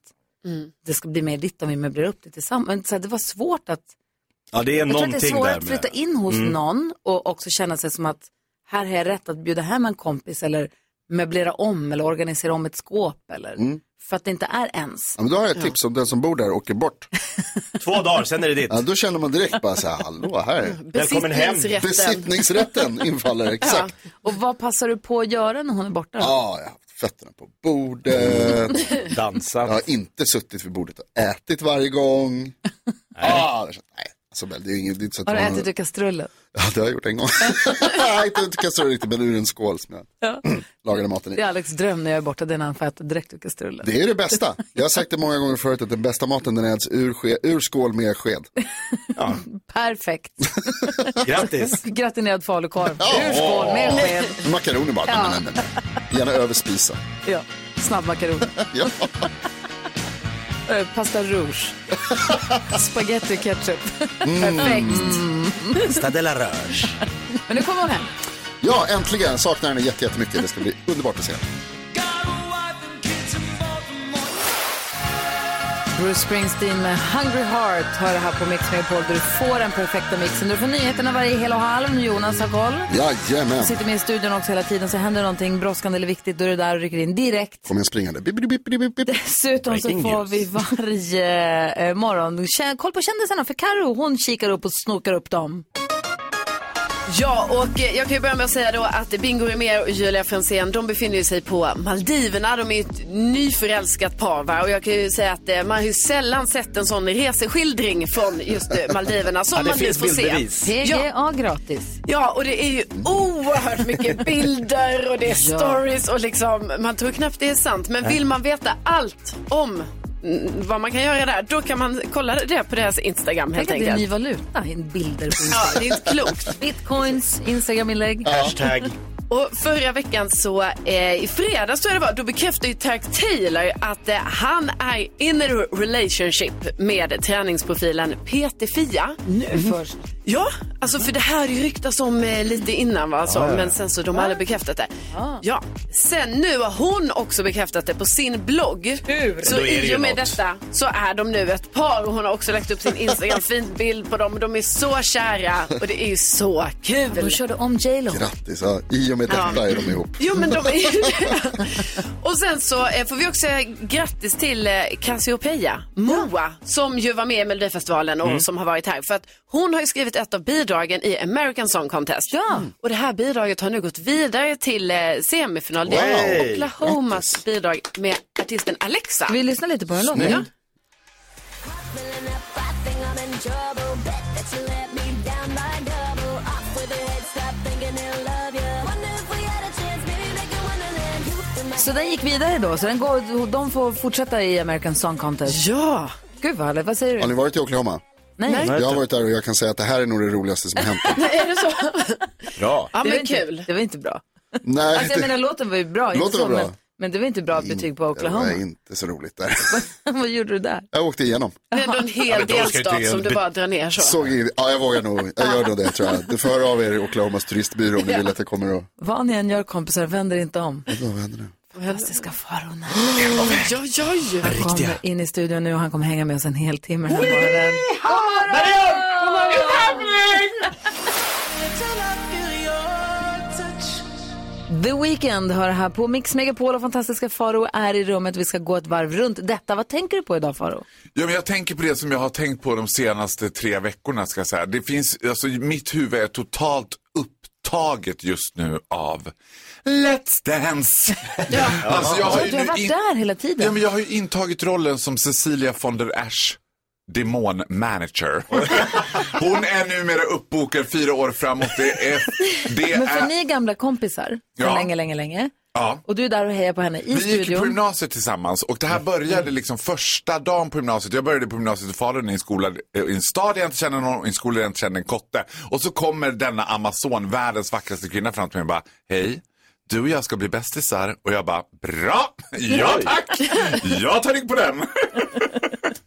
Speaker 1: det ska bli mer ditt om vi möblerar upp det tillsammans. Men så här, det var svårt att
Speaker 5: Ja, det är
Speaker 1: jag tror att
Speaker 5: någonting
Speaker 1: det
Speaker 5: där
Speaker 1: är svårare att
Speaker 5: med-
Speaker 1: flytta in hos
Speaker 5: Mm.
Speaker 1: någon och också känna sig som att här har jag rätt att bjuda hem en kompis eller möblera om eller organisera om ett skåp eller
Speaker 3: Mm.
Speaker 1: för att det inte är ens.
Speaker 3: Ja, men då har jag ett tips om den som bor där åker bort.
Speaker 5: Två dagar, sen är det ditt.
Speaker 3: Ja, då känner man direkt bara så här, hallå, här. är-
Speaker 1: Välkommen hem. Besittningsrätten.
Speaker 3: Besittningsrätten infaller, exakt.
Speaker 1: Ja. Och vad passar du på att göra när hon är borta då?
Speaker 3: Ja, jag har haft fötterna på bordet.
Speaker 5: Dansat.
Speaker 3: Jag har inte suttit vid bordet och ätit varje gång. Nej. Ah, det är så- nej. Alltså, men det är ju inget, det är inte så att
Speaker 1: Har du
Speaker 3: man-
Speaker 1: ätit ur kastrullen?
Speaker 3: Ja, det har jag gjort en gång. Nej, inte inte kastrullen riktigt, men ur en skål som jag lagade maten i.
Speaker 1: Det är Alex dröm när jag är borta, den han får äta direkt ur kastrullen.
Speaker 3: Det är det bästa. Jag har sagt det många gånger förut att den bästa maten den äts ur, ske, ur skål med sked.
Speaker 1: Perfekt.
Speaker 5: Grattis.
Speaker 1: Gratinerad falukorv. Ur skål, med sked.
Speaker 3: Makaroner bara.
Speaker 1: Ja.
Speaker 3: Nej, nej, nej. Gärna över spisen.
Speaker 1: Ja, snabbmakaroner.
Speaker 3: Ja.
Speaker 1: Eh, Pasta rouge. Spaghetti ketchup.
Speaker 3: Mm.
Speaker 1: Perfekt.
Speaker 5: Pasta de la Roche.
Speaker 1: Men nu kommer hon hem.
Speaker 3: Ja, äntligen. Saknar henne jätte- jättemycket. Det ska bli underbart att se henne.
Speaker 1: Bruce Springsteen med Hungry Heart hör det här på Mix Megapol där du får den perfekta mixen. Du får nyheterna varje hel och halv. Jonas har koll.
Speaker 3: Jajamän.
Speaker 1: Sitter med i studion också hela tiden så händer det någonting brådskande eller viktigt då är du där och rycker in direkt.
Speaker 3: Kommer jag springande. Bip, bip, bip, bip, bip.
Speaker 1: Dessutom så
Speaker 3: Breaking
Speaker 1: får vi varje eh, morgon kä- koll på kändisarna för Karo hon kikar upp och snokar upp dem.
Speaker 4: Ja, och eh, jag kan ju börja med att säga då att Bingo Rimér och Julia Fransén, de befinner ju sig på Maldiverna. De är ju ett nyförälskat par va? och jag kan ju säga att eh, man har ju sällan sett en sån reseskildring från just eh, Maldiverna som
Speaker 1: Ja, det
Speaker 4: man nu
Speaker 1: finns
Speaker 4: får
Speaker 1: bildbevis.
Speaker 4: se.
Speaker 1: PGA gratis.
Speaker 4: Ja, och det är ju oerhört mycket bilder och det är
Speaker 1: Ja.
Speaker 4: stories och liksom, man tror knappt det är sant. Men
Speaker 1: Nej.
Speaker 4: vill man veta allt om mm, vad man kan göra där, då kan man kolla det på deras Instagram
Speaker 1: Tänk
Speaker 4: helt
Speaker 1: att det är
Speaker 4: enkelt.
Speaker 1: ny valuta, in- bilder på Instagram.
Speaker 4: Ja, det är inte klokt.
Speaker 1: Bitcoins, Instagram-inlägg.
Speaker 5: Hashtag.
Speaker 4: Och förra veckan så, eh, i fredags tror jag det var, då bekräftade ju Tark Taylor att eh, han är in a relationship med träningsprofilen Peter Fia.
Speaker 1: Nu först.
Speaker 4: Ja, alltså för det här har ju ryktats om eh, lite innan va, alltså,
Speaker 1: Ja, ja.
Speaker 4: men sen så de har aldrig bekräftat det.
Speaker 1: Ja.
Speaker 4: Ja, sen nu har hon också bekräftat det på sin blogg. Så
Speaker 1: Då är det ju
Speaker 4: i och med
Speaker 1: något.
Speaker 4: detta så är de nu ett par och hon har också lagt upp sin Instagram, fin bild på dem. De är så kära och det är ju så kul.
Speaker 1: Hon körde om J Lo.
Speaker 3: Grattis. Ja, I och med detta
Speaker 4: Ja.
Speaker 3: är de ihop.
Speaker 4: Jo, men de är ju det. Och sen så eh, får vi också säga grattis till eh, Cassiopeia, Moa, som ju var med i Melodifestivalen och
Speaker 1: Mm.
Speaker 4: som har varit här. För att hon har ju skrivit ett av bidragen i American Song Contest. Ja. Och det här bidraget har nu gått vidare till eh, semifinal. Det
Speaker 1: Wow.
Speaker 4: är Oklahomas bidrag med artisten Alexa.
Speaker 1: Ska vi lyssna lite på hur den
Speaker 4: Ja.
Speaker 1: låter? Så den gick vidare då, så den går, de får fortsätta i American Song Contest.
Speaker 4: Ja!
Speaker 1: Gud vad härligt, vad säger
Speaker 3: Har
Speaker 1: du?
Speaker 3: ni varit i Oklahoma?
Speaker 1: Nej. Nej.
Speaker 3: Jag har varit där och jag kan säga att det här är nog det roligaste som har hänt.
Speaker 4: är det så?
Speaker 3: Bra.
Speaker 1: det var inte, Det var inte bra.
Speaker 3: Nej,
Speaker 1: alltså jag
Speaker 3: det-
Speaker 1: menar låten var ju bra,
Speaker 3: Låten
Speaker 1: inte så,
Speaker 3: var bra.
Speaker 1: Men, men det var inte bra betyg på Oklahoma.
Speaker 3: Det var inte så roligt där.
Speaker 1: vad gjorde du där?
Speaker 3: Jag åkte igenom.
Speaker 4: Det är ändå en hel delstat som du bara drar ner så.
Speaker 3: Såg in, ja, jag vågar nog. Jag gör nog det tror jag. Du får höra av er i Oklahomas turistbyrå om ni vill att jag kommer att...
Speaker 1: Vad ni än gör kompisar, vänder inte om.
Speaker 3: Vadå, vad händer nu?
Speaker 1: fantastiska farorna.
Speaker 4: Oj, oj, oj.
Speaker 1: Han kommer in i studion nu och han kommer hänga med oss en hel timme den här morgonen. The Weeknd hör här på Mix Megapol och fantastiska Faro är i rummet. Vi ska gå ett varv runt detta. Vad tänker du på idag Faro?
Speaker 10: Ja, men jag tänker på det som jag har tänkt på de senaste tre veckorna. Ska jag säga. Det finns, alltså, mitt huvud är totalt upptaget just nu av Let's Dance. Alltså, jag har ju
Speaker 1: du har
Speaker 10: nu
Speaker 1: varit
Speaker 10: in-
Speaker 1: där hela tiden.
Speaker 10: Ja, men jag har ju intagit rollen som Cecilia von der Asch demonmanager. Hon är numera uppbokad fyra år framåt. Det är... Det
Speaker 1: Men för
Speaker 10: är
Speaker 1: ni är gamla kompisar för
Speaker 10: Ja.
Speaker 1: länge, länge, länge.
Speaker 10: ja.
Speaker 1: Och du är där och hejar på henne i
Speaker 10: Vi gick på
Speaker 1: studion.
Speaker 10: gymnasiet tillsammans och det här började liksom första dagen på gymnasiet. Jag började på gymnasiet i Falun i en, skola, eh, i en stad jag inte känner någon och i en skola jag inte känner en kotte. Och så kommer denna Amazon, världens vackraste kvinna fram till mig och bara, hej, du och jag ska bli bästisar. Och jag bara, bra, ja tack, jag tar rygg på den.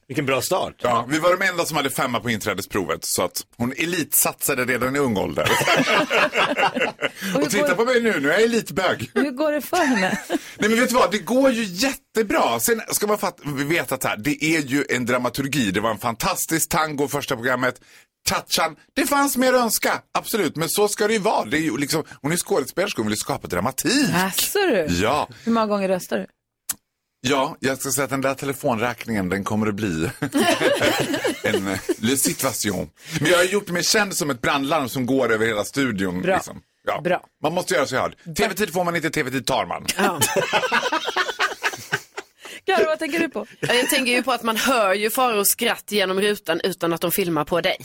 Speaker 5: Vilken bra start.
Speaker 10: Ja, vi var de enda som hade femma på inträdesprovet så att hon elitsatsade redan i ung ålder. och titta på mig nu, nu är jag elitbög.
Speaker 1: Hur går det för henne?
Speaker 10: Nej men vet du vad, det går ju jättebra. Sen ska man fatta, vi vet att här, det är ju en dramaturgi. Det var en fantastisk tango första programmet. Tatchan, det fanns mer att önska, absolut. Men så ska det ju vara. Det är ju liksom, hon är skådespelerska, hon vill ju skapa dramatik.
Speaker 1: Jaså du?
Speaker 10: Ja,
Speaker 1: Hur många gånger röstar du?
Speaker 10: ja, jag ska säga att den där telefonräkningen, den kommer att bli en eh, le situation. Men jag har gjort mig känd som ett brandlarm som går över hela studion.
Speaker 1: Bra.
Speaker 10: Liksom. Ja.
Speaker 1: Bra.
Speaker 10: Man måste göra sig hörd. TV-tid får man inte, TV-tid tar man.
Speaker 1: Karo, vad tänker du på?
Speaker 4: Ja, Jag tänker ju på att man hör ju Faros skratt genom rutan utan att de filmar på dig.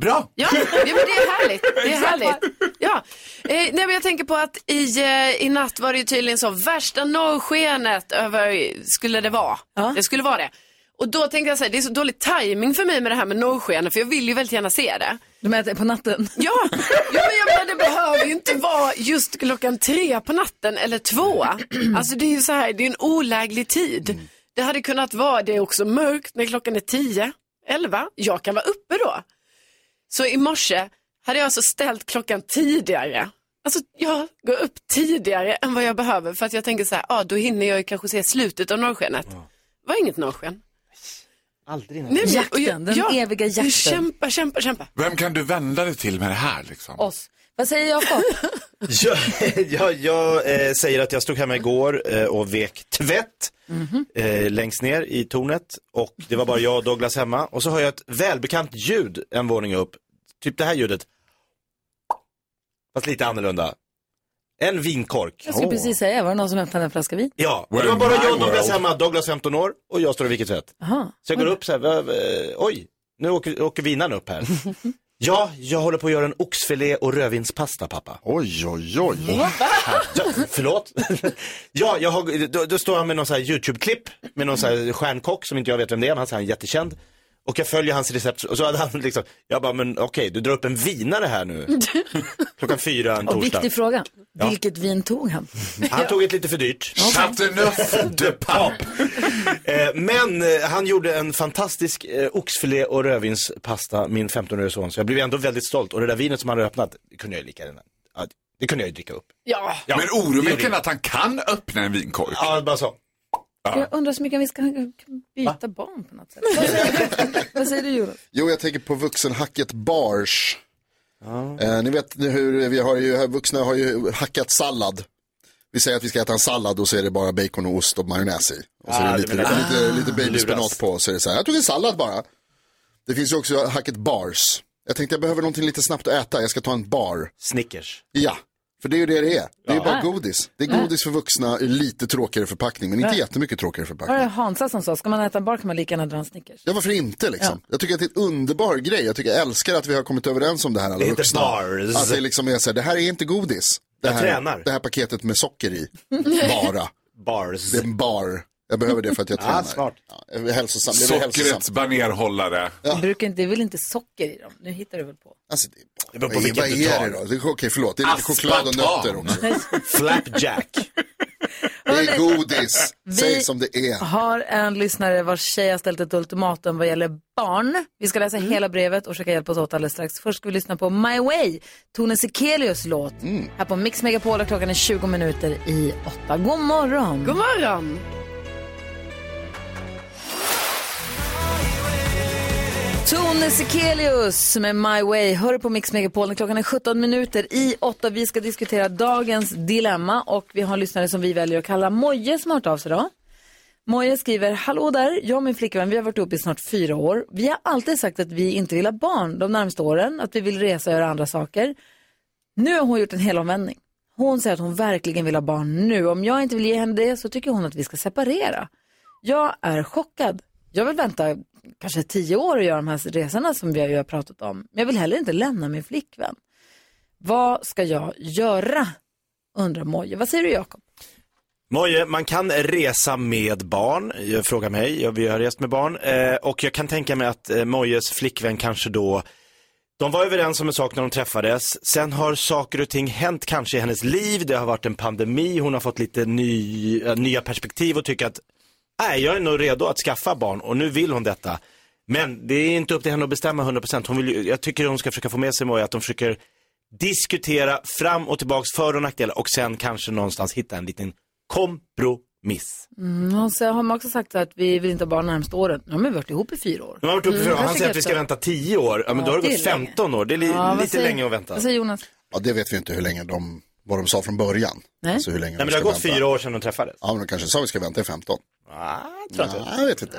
Speaker 10: Bra.
Speaker 4: Ja, ja, men det är härligt. Det är härligt. Ja. Eh, nej, men jag tänker på att i, eh, i natt var det ju tydligen så värsta norrskenet över, skulle det vara. Det skulle vara det. Och då tänkte jag så här, det är så dålig timing för mig med det här med norrskenet för jag vill ju väldigt gärna se det.
Speaker 1: Du menar att det är på natten?
Speaker 4: Ja, ja men jag menar det behöver ju inte vara just klockan tre på natten eller två. Alltså det är ju så här, det är en oläglig tid. Det hade kunnat vara, det är också mörkt när klockan är tio, elva. Jag kan vara uppe då. Så i morse hade jag alltså ställt klockan tidigare. Alltså jag går upp tidigare än vad jag behöver för att jag tänker så här, ah, då hinner jag ju kanske se slutet av norrskenet. Var inget norrsken.
Speaker 5: Aldrig
Speaker 4: Nej, men- och jag-
Speaker 1: Jakten, den eviga jakten.
Speaker 4: Kämpa, kämpa, kämpa.
Speaker 10: Vem kan du vända dig till med det här liksom?
Speaker 1: Oss. Vad säger Jakob?
Speaker 5: Jag, jag, jag eh, säger att jag stod hemma igår eh, och vek tvätt eh, längst ner i tornet och det var bara jag och Douglas hemma och så hör jag ett välbekant ljud en våning upp. Typ det här ljudet. Fast lite annorlunda. En vinkork.
Speaker 1: Jag skulle precis säga, var det någon som öppnade en flaska vin?
Speaker 5: Ja, och det var bara jag och Douglas hemma. Douglas 15 år och jag står och viker tvätt.
Speaker 1: Aha.
Speaker 5: Så jag går upp så här, "Va- eh, oj, nu åker, åker vinan upp här. Ja, jag håller på att göra en oxfilé och rödvinspasta pappa.
Speaker 3: Oj, oj, oj.
Speaker 5: Ja, förlåt? ja, jag har, då, då står han med någon så här YouTube-klipp med någon så här stjärnkock som inte jag vet vem det är, men han är så här jättekänd. Och jag följer hans recept och så hade han liksom, jag bara, men okej, du drar upp en vinare här nu. Klockan fyra en
Speaker 1: Och
Speaker 5: torsdag.
Speaker 1: viktig fråga,
Speaker 5: Ja.
Speaker 1: vilket vin tog han?
Speaker 5: Han tog ett lite för dyrt.
Speaker 10: Shut enough de papp.
Speaker 5: Eh, men eh, han gjorde en fantastisk eh, oxfilé och rödvinspasta, min 15-årige son. Så jag blev ändå väldigt stolt. Och det där vinet som han hade öppnat, det kunde jag ju lika gärna, ja, det kunde jag ju dricka upp.
Speaker 4: Ja.
Speaker 5: Ja,
Speaker 10: Men
Speaker 5: det gjorde
Speaker 10: oroväckande
Speaker 5: jag.
Speaker 10: att han kan öppna en vinkork.
Speaker 5: Ja, bara så.
Speaker 1: Jag undrar så mycket om vi ska kan byta barn på något sätt. Vad säger du, Vad säger du Jonas?
Speaker 3: Jo, jag tänker på vuxenhacket bars. Eh, ni vet hur vi har ju, vuxna har ju hackat sallad. Vi säger att vi ska äta en sallad och så är det bara bacon och ost och majonnäs i. Och så är
Speaker 5: Ah,
Speaker 3: det
Speaker 5: det
Speaker 3: lite,
Speaker 5: menar jag.
Speaker 3: lite, lite babyspenat
Speaker 5: Luras.
Speaker 3: på. Så är det så här, jag tog en sallad bara. Det finns ju också hacket bars. Jag tänkte jag behöver någonting lite snabbt att äta, jag ska ta en bar.
Speaker 5: Snickers.
Speaker 3: Ja, för det är ju det det är. Det är ju bara godis. Det är godis för vuxna i lite tråkigare förpackning, men inte jättemycket tråkigare
Speaker 1: Var det
Speaker 3: förpackning.
Speaker 1: Hansa som sa, ska man äta en bar kan man lika gärna dra en Snickers.
Speaker 3: Ja, varför inte liksom? Jag tycker att det är en underbar grej. Jag tycker jag älskar att vi har kommit överens om det här alla
Speaker 5: Det heter
Speaker 3: vuxna.
Speaker 5: bars.
Speaker 3: Att det liksom är så här, det här är inte godis. Det
Speaker 5: Jag
Speaker 3: här,
Speaker 5: tränar.
Speaker 3: Det här paketet med socker i, bara.
Speaker 5: Bars.
Speaker 3: Det är en bar. Jag behöver det för att jag tränar.
Speaker 5: smart.
Speaker 3: Ja, jag är hälsosam. Jag är hälsosam.
Speaker 10: Sockrets banerhållare.
Speaker 1: Det, brukar inte, det är väl inte socker i dem? Nu hittar du väl på.
Speaker 3: Alltså, det är
Speaker 5: Det beror på
Speaker 3: vad är,
Speaker 5: vilket
Speaker 3: vad
Speaker 5: du
Speaker 3: är
Speaker 5: tar.
Speaker 3: det då? Det är- Okej, förlåt. Det är lite choklad och
Speaker 10: Aspartam.
Speaker 3: nötter också.
Speaker 5: Flapjack.
Speaker 3: Det är godis. Säg som det är.
Speaker 1: har en lyssnare vars tjej har ställt ett ultimatum vad gäller barn. Vi ska läsa
Speaker 3: Mm.
Speaker 1: hela brevet och försöka hjälpa oss åt alldeles strax. Först ska vi lyssna på My Way, Tone Sekelius låt.
Speaker 3: Mm.
Speaker 1: Här på Mix Megapol och klockan är 20 minuter i åtta. God morgon!
Speaker 4: God morgon!
Speaker 1: Tone Sekelius med My Way. Hör på Mix Megapol. Klockan är 17 minuter i 8. Vi ska diskutera dagens dilemma och vi har en lyssnare som vi väljer att kalla Moje som har hört av sig idag. Moje skriver, hallå där, jag och min flickvän vi har varit ihop i snart fyra år. Vi har alltid sagt att vi inte vill ha barn de närmaste åren, att vi vill resa och göra andra saker. Nu har hon gjort en helomvändning. Hon säger att hon verkligen vill ha barn nu. Om jag inte vill ge henne det så tycker hon att vi ska separera. Jag är chockad. Jag vill vänta kanske tio år och göra de här resorna som vi har ju har pratat om. Men jag vill heller inte lämna min flickvän. Vad ska jag göra? Undrar Moje. Vad säger du Jakob?
Speaker 5: Moje, man kan resa med barn. Jag frågar mig, jag, vi har rest med barn. Eh, och jag kan tänka mig att eh, Mojes flickvän kanske då, de var överens om en sak när de träffades. Sen har saker och ting hänt kanske i hennes liv. Det har varit en pandemi, hon har fått lite ny, eh, nya perspektiv och tycker att nej, jag är nog redo att skaffa barn och nu vill hon detta. Men det är inte upp till henne att bestämma 100%. Hon vill, ju- jag tycker hon ska försöka få med sig Moje att de försöker diskutera fram och tillbaks för och nackdelar och sen kanske någonstans hitta en liten kompromiss.
Speaker 1: Mm, hon säger, har man också sagt att vi vill inte ha barn närmaste åren. Nu har vi varit ihop i fyra år.
Speaker 5: Nu har varit uppe
Speaker 1: Mm,
Speaker 5: för,
Speaker 1: det
Speaker 5: han
Speaker 1: kanske
Speaker 5: säger att vi ska
Speaker 1: hjälper.
Speaker 5: vänta 10 år, ja, men då har
Speaker 1: Ja,
Speaker 5: det gått
Speaker 1: det är länge.
Speaker 5: 15 år, det är li,
Speaker 1: Ja, vad
Speaker 5: lite
Speaker 1: säger-
Speaker 5: länge att vänta.
Speaker 1: Vad säger Jonas?
Speaker 3: Ja, det vet vi inte hur länge de, vad de sa från början.
Speaker 1: Nej.
Speaker 3: Alltså hur länge de
Speaker 5: Nej, men det har
Speaker 3: ska
Speaker 5: gått
Speaker 3: vänta.
Speaker 5: fyra år sedan de träffades.
Speaker 3: Ja, men de kanske sa vi ska vänta i 15.
Speaker 5: Ah,
Speaker 3: tror jag, jag vet inte.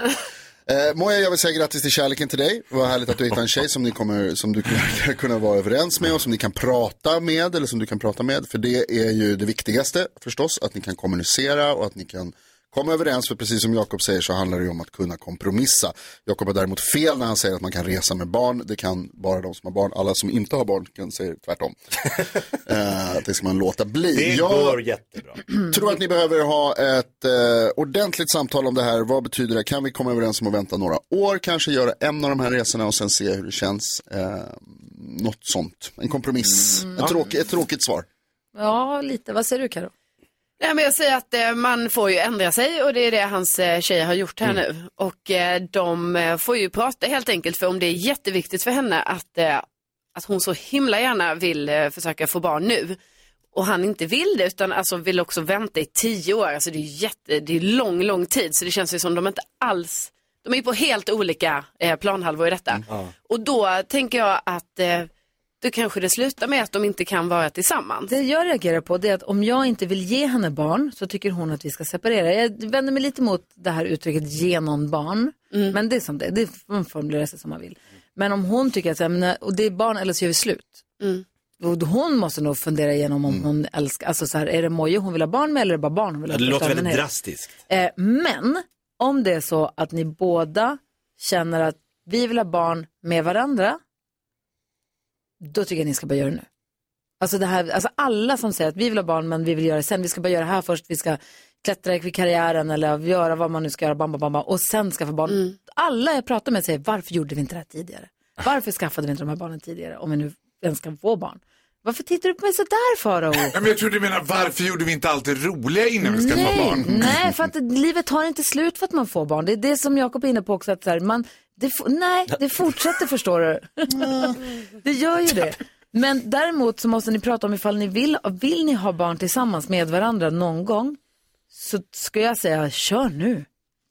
Speaker 3: Eh, Moja, jag vill säga grattis till kärleken till dig. Vad härligt att du hittar en tjej som, ni kommer, som du verkar kunna vara överens med och som ni kan prata med. Eller som du kan prata med. För det är ju det viktigaste förstås. Att ni kan kommunicera och att ni kan komma överens. För precis som Jakob säger så handlar det ju om att kunna kompromissa. Jakob har däremot fel när han säger att man kan resa med barn. Det kan bara de som har barn. Alla som inte har barn kan säga tvärtom. eh, det ska man låta bli.
Speaker 5: Det
Speaker 3: Jag-
Speaker 5: går jättebra.
Speaker 3: tror att ni behöver ha ett eh, ordentligt samtal om det här. Vad betyder det? Kan vi komma överens om att vänta några år? Kanske göra en av de här resorna och sen se hur det känns. Eh, något sånt. En kompromiss.
Speaker 4: Mm.
Speaker 3: Ett, tråk, ett tråkigt svar.
Speaker 1: Ja, lite. Vad säger du Karo?
Speaker 4: Nej, men jag säger att eh, man får ju ändra sig och det är det hans eh, tjejer har gjort här
Speaker 1: Mm.
Speaker 4: nu. Och eh, de eh, får ju prata helt enkelt för om det är jätteviktigt för henne att, eh, att hon så himla gärna vill eh, försöka få barn nu och han inte vill det utan alltså vill också vänta i tio år. Alltså det är jätte, det är lång, lång tid så det känns ju som de inte alls, de är ju på helt olika eh, planhalvor i detta.
Speaker 5: Mm.
Speaker 4: Och då tänker jag att eh, då kanske det slutar med att de inte kan vara tillsammans.
Speaker 1: Det jag reagerar på det är att om jag inte vill ge henne barn så tycker hon att vi ska separera. Jag vänder mig lite mot det här uttrycket genom barn. Men det är som det är. Det får man formulera sig som man vill. Men om hon tycker att så här, men, och det är barn eller så gör vi slut. Och Hon måste nog fundera igenom
Speaker 5: Mm.
Speaker 1: om hon älskar, alltså så här, är det Moje hon vill ha barn med eller är det bara barn hon vill ha
Speaker 5: Det
Speaker 1: i
Speaker 5: låter
Speaker 1: största
Speaker 5: väldigt
Speaker 1: allmänhet?
Speaker 5: drastiskt.
Speaker 1: Eh, men om det är så att ni båda känner att vi vill ha barn med varandra, då tycker jag ni ska börja göra det nu. Alltså, det här, alltså alla som säger att vi vill ha barn men vi vill göra det sen, vi ska bara göra det här först, vi ska klättra i karriären eller göra vad man nu ska göra, bam, bam, bam, bam, och sen skaffa barn. Alla jag pratar med säger varför gjorde vi inte det här tidigare? Varför skaffade vi inte de här barnen tidigare om vi nu ens kan få barn? Varför tittar du på mig sådär Farao?
Speaker 10: Ja, men jag tror du menar varför gjorde vi inte allt det roliga innan vi skaffade
Speaker 1: nej,
Speaker 10: barn?
Speaker 1: Nej, för att livet tar inte slut för att man får barn. Det är det som Jakob är inne på också. Att så här, man, det, f- nej, det fortsätter förstår du. det gör ju det. Men däremot så måste ni prata om ifall ni vill, vill ni ha barn tillsammans med varandra någon gång så ska jag säga kör nu.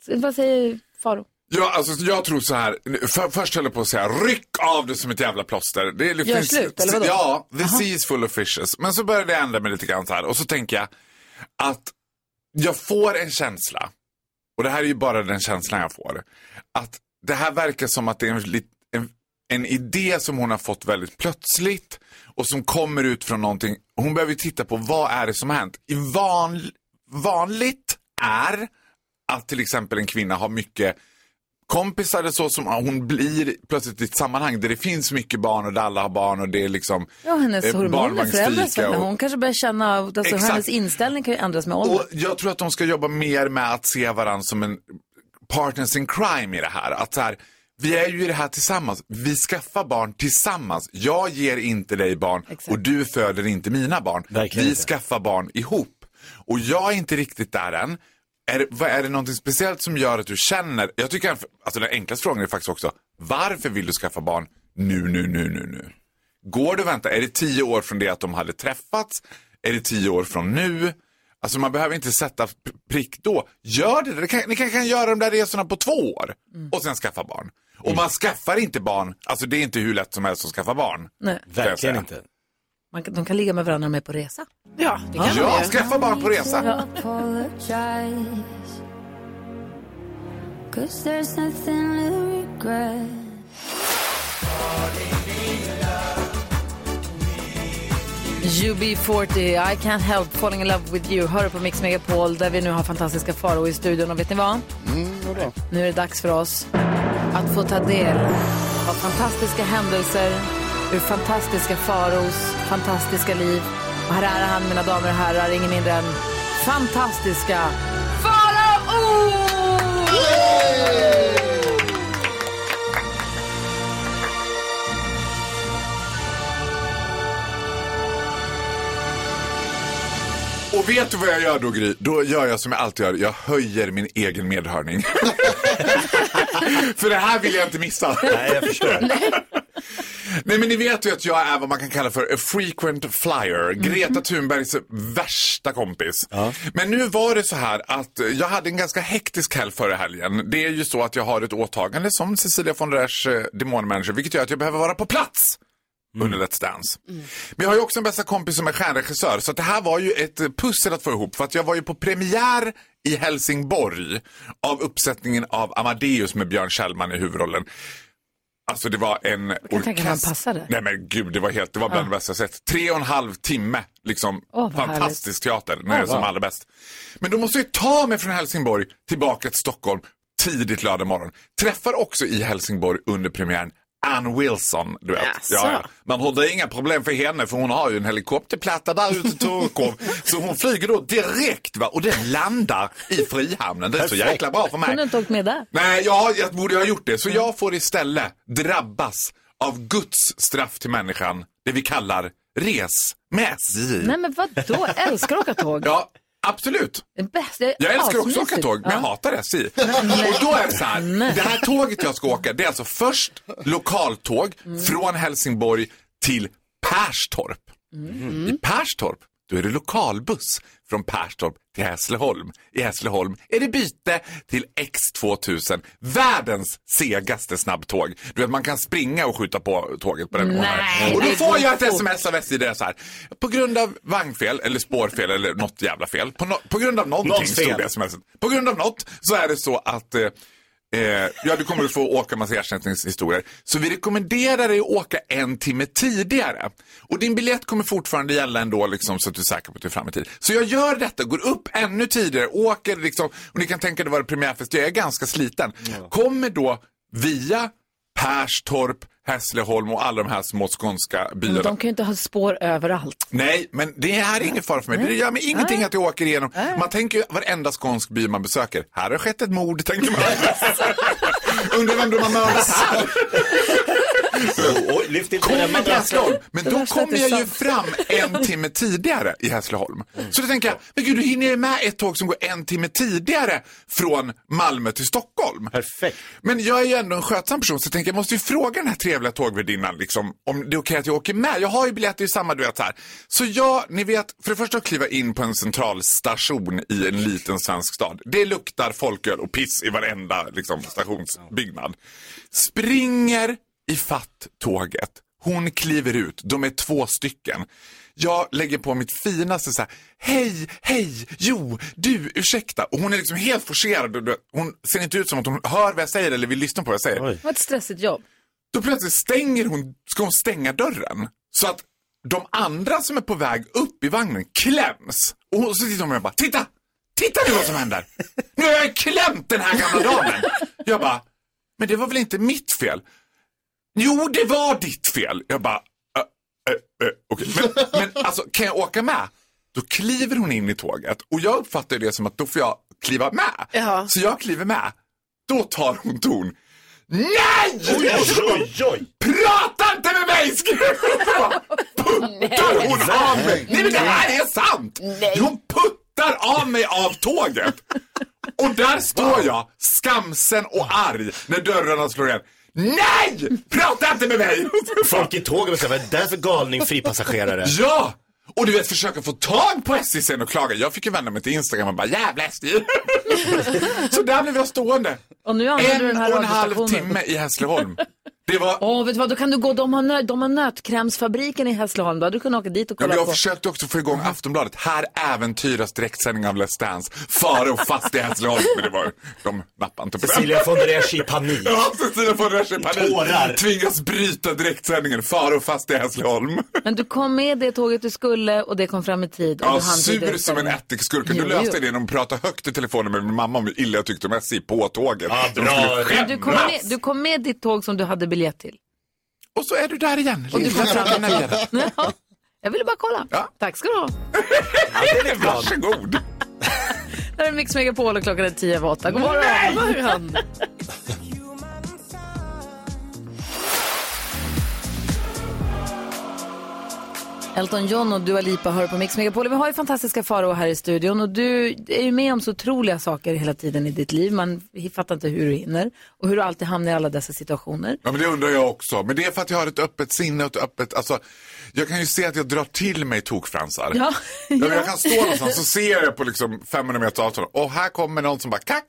Speaker 1: Så Vad säger Faro?
Speaker 10: Ja, alltså jag tror så här. För, först höll jag på att säga ryck av det som ett jävla plåster. Det, det
Speaker 1: Gör slut, eller vadå?
Speaker 10: Ja, the sea is full of fishes. Men så började jag ändra mig lite grann så här och så tänker jag att jag får en känsla, och det här är ju bara den känslan jag får, att det här verkar som att det är en, lit- en, en idé som hon har fått väldigt plötsligt och som kommer ut från någonting. Hon behöver ju titta på vad är det som har hänt. I van, vanligt är att till exempel en kvinna har mycket kompisar eller så som hon blir plötsligt i ett sammanhang där det finns mycket barn och där alla har barn och det är liksom
Speaker 1: Ja, hennes
Speaker 10: eh,
Speaker 1: hormoner
Speaker 10: barnvagnsfika
Speaker 1: förändras. väl när
Speaker 10: och-
Speaker 1: Hon kanske börjar känna, alltså,
Speaker 10: Exakt.
Speaker 1: hennes inställning kan ju ändras med åldern.
Speaker 10: och jag tror att de ska jobba mer med att se varandra som en partners in crime i det här. Att så här, vi är ju i det här tillsammans. Vi skaffar barn tillsammans. Jag ger inte dig barn och du föder inte mina barn. vi skaffar barn ihop. Och jag är inte riktigt där än. Är det, vad, är det någonting speciellt som gör att du känner, jag tycker alltså den enklaste frågan är faktiskt också, varför vill du skaffa barn nu, nu, nu, nu, nu? Går det att vänta? Är det tio år från det att de hade träffats? Är det tio år från nu? Alltså man behöver inte sätta p- prick då. Gör det, det kan, ni kanske kan göra de där resorna på två år och sen skaffa barn. Och man skaffar inte barn, alltså det är inte hur lätt som helst att skaffa barn.
Speaker 1: Nej.
Speaker 10: kan jag
Speaker 5: Verkligen
Speaker 10: säga.
Speaker 5: inte.
Speaker 1: Man, kan- de kan ligga med varandra när de är på resa.
Speaker 4: Ja,
Speaker 1: det kan
Speaker 10: ja
Speaker 1: de ju.
Speaker 10: skaffa barn på resa.
Speaker 1: UB40, I can't help falling in love with you. Hör du på Mix Megapol där vi nu har fantastiska Farao i studion. Och vet ni vad?
Speaker 10: Mm,
Speaker 1: Nu är det dags för oss att få ta del av fantastiska händelser ur fantastiska Faros fantastiska liv. Och här är han, mina damer och herrar, ingen mindre än fantastiska Farao!
Speaker 10: Och vet du vad jag gör då Gry? Då gör jag som jag alltid gör, jag höjer min egen medhörning. För det här vill jag inte missa.
Speaker 5: Nej, jag förstår.
Speaker 10: Nej men ni vet ju att jag är vad man kan kalla för a frequent flyer. Greta Thunbergs värsta kompis. Men nu var det så här att jag hade en ganska hektisk helg förra helgen. Det är ju så att jag har ett åtagande som Cecilia von Rers eh, demonmanager vilket gör att jag behöver vara på plats under Let's Dance. Men jag har ju också en bästa kompis som är stjärnregissör så att det här var ju ett eh, pussel att få ihop för att jag var ju på premiär i Helsingborg av uppsättningen av Amadeus med Björn Kjellman i huvudrollen. Alltså det var en
Speaker 1: Jag tänker att han passade.
Speaker 10: Nej men gud, det var helt, det var bland det bästa jag sett. Tre och en halv timme, liksom.
Speaker 1: Åh, vad
Speaker 10: fantastisk teater, när
Speaker 1: Åh,
Speaker 10: det är som
Speaker 1: wow.
Speaker 10: allra bäst. Men då måste jag ta mig från Helsingborg tillbaka till Stockholm tidigt lördag morgon. Träffar också i Helsingborg under premiären Ann Wilson, du vet.
Speaker 4: Jaså?
Speaker 10: Man har det inga problem för henne för hon har ju en helikopterplatta där ute i Turkov. så hon flyger då direkt va? och den landar i Frihamnen. Det är så
Speaker 5: Perfekt.
Speaker 10: jäkla bra för mig.
Speaker 1: Kunde du inte åkt med där?
Speaker 10: Nej, jag, jag borde ha gjort det. Så jag får istället drabbas av Guds straff till människan, det vi kallar res med SJ.
Speaker 1: Nej men vadå? Jag älskar att åka tåg.
Speaker 10: Ja, absolut.
Speaker 1: Det bästa. det är
Speaker 10: Jag älskar också att åka
Speaker 1: asmysigt.
Speaker 10: tåg, men jag
Speaker 1: Ja.
Speaker 10: hatar SJ. Och då är det så här, det här tåget jag ska åka, det är alltså först lokaltåg
Speaker 1: Mm.
Speaker 10: från Helsingborg till Perstorp. Mm. I Perstorp, då är det lokalbuss från Perstorp till Hässleholm. I Hässleholm är det byte till X2000, världens segaste snabbtåg. Du vet, man kan springa och skjuta på tåget på den gången.
Speaker 1: Nej,
Speaker 10: Och då
Speaker 1: det
Speaker 10: får
Speaker 1: går
Speaker 10: jag ett
Speaker 1: fort.
Speaker 10: sms av SJ där det är så här, på grund av vagnfel eller spårfel eller något jävla fel, på, no- på grund av någon
Speaker 5: Något
Speaker 10: någonting stod
Speaker 5: fel.
Speaker 10: det som helst. På grund av något så är det så att eh, eh, ja, du kommer att få åka massa ersättningshistorier. Så vi rekommenderar dig att åka en timme tidigare. Och din biljett kommer fortfarande gälla ändå liksom, så att du är säker på att du är framme i tid. Så jag gör detta, går upp ännu tidigare, åker liksom, och ni kan tänka det var premiärfest, jag är ganska sliten. Kommer då via Perstorp, Hässleholm och alla de här små skånska
Speaker 1: Men
Speaker 10: byarna.
Speaker 1: de kan ju inte ha spår överallt.
Speaker 10: Nej, men det här är ingen fara för mig. Det gör mig ingenting att jag åker igenom. Man tänker ju varenda skånsk by man besöker. Här har skett ett mord, tänker man. Undrar vem de har mördat här.
Speaker 5: Oj, oj, lyft inte den
Speaker 10: Kommer till
Speaker 5: madrassen.
Speaker 10: Hässleholm. Men
Speaker 1: Det
Speaker 10: då
Speaker 1: värsta är att
Speaker 10: kommer
Speaker 1: det är
Speaker 10: jag ju
Speaker 1: sant.
Speaker 10: fram en timme tidigare i Hässleholm. Så då tänker jag, men gud, du hinner ju med ett tåg som går en timme tidigare från Malmö till Stockholm.
Speaker 5: Perfekt.
Speaker 10: Men jag är ju ändå en skötsam person så jag tänker jag måste ju fråga den här trevliga tågvärdinnan liksom, om det är okej att jag åker med. Jag har ju biljetter i samma duett här. Så jag, ni vet, för det första att kliva in på en central station i en liten svensk stad. Det luktar folköl och piss i varenda liksom, stationsbyggnad. Springer i fatt tåget. Hon kliver ut. De är två stycken. Jag lägger på mitt finaste så här. Hej, hej, jo, du, ursäkta. Och hon är liksom helt forcerad. och du vet, Hon ser inte ut som att hon hör vad jag säger eller vill lyssna på vad jag säger.
Speaker 5: Oj.
Speaker 1: Det var ett stressigt jobb.
Speaker 10: Då plötsligt stänger hon, ska hon stänga dörren. Så att de andra som är på väg upp i vagnen kläms. Och hon- så tittar hon på mig och bara, titta! Titta nu vad som händer! Nu har jag klämt den här gamla damen! Jag bara, men det var väl inte mitt fel? Jo, det var ditt fel. Jag bara, "Ä, ä, ä, okej. Men, men alltså, kan jag åka med? Då kliver hon in i tåget och jag uppfattar det som att då får jag kliva med.
Speaker 4: Ja.
Speaker 10: Så jag kliver med. Då tar hon ton. Nej!
Speaker 5: Oj, oj.
Speaker 10: Prata inte med mig! skriver hon. Puttar hon av mig? Nej men det här är sant! Jo, Hon puttar kuttar av mig av tåget. Och där står jag, skamsen och arg, när dörrarna slår igen. Nej! Prata inte med mig!
Speaker 5: Folk i tåget bestämmer, vad är det där för galning fripassagerare?
Speaker 10: Ja! Och du vet, försöka få tag på SJ sen och klaga. Jag fick ju vända mig till Instagram och bara, jävla SJ! Så där blev jag stående.
Speaker 1: Och nu använder du den här
Speaker 10: en och en halv
Speaker 1: radiostationen.
Speaker 10: timme i Hässleholm. Det var
Speaker 1: Åh, vet du vad, då kan du gå, de har, nö, de har nötkrämsfabriken i Hässleholm, då hade du kunnat åka dit och
Speaker 10: Ja,
Speaker 1: kolla
Speaker 10: men jag
Speaker 1: på.
Speaker 10: försökte också få igång Aftonbladet. Här äventyras direktsändning av Let's Dance. Faro fast i Hässleholm. Men det var, de nappade inte på det.
Speaker 5: Cecilia von der Esch i panik.
Speaker 10: Ja, Cecilia von der Esch i panik.
Speaker 5: Tårar.
Speaker 10: Tvingas bryta direktsändningen. Faro fast i Hässleholm.
Speaker 1: Men du kom med det tåget du skulle och det kom fram i tid. Och
Speaker 10: Ja,
Speaker 1: du hann till
Speaker 10: sur
Speaker 1: det
Speaker 10: som en
Speaker 1: stället.
Speaker 10: ättikskurk. Du
Speaker 1: Jo,
Speaker 10: löste
Speaker 1: jo.
Speaker 10: det genom att prata högt i telefonen med min mamma om hur illa jag tyckte om SJ på tåget. Ja,
Speaker 1: Men Du kom, med, du kom med ditt tåg som du hade biljett till.
Speaker 10: Och så är du där igen.
Speaker 1: Och du kom fram. ja, jag ville bara kolla. Tack ska du ha.
Speaker 10: Varsågod.
Speaker 1: Det här är Mix Megapol och klockan är tio över åtta. God morgon.
Speaker 4: Nej!
Speaker 1: God morgon. Elton John och Dua Lipa hör på Mix Megapol. Vi har ju fantastiska Farao här i studion och du är ju med om så otroliga saker hela tiden i ditt liv. Man fattar inte hur du hinner och hur du alltid hamnar i alla dessa situationer.
Speaker 10: Ja, men det undrar jag också. Men det är för att jag har ett öppet sinne och ett öppet... Alltså, jag kan ju se att jag drar till mig tokfransar.
Speaker 1: Ja.
Speaker 10: Ja, men jag kan stå någonstans så ser jag på liksom 500 meter avstånd och här kommer någon som bara kackadoodoo.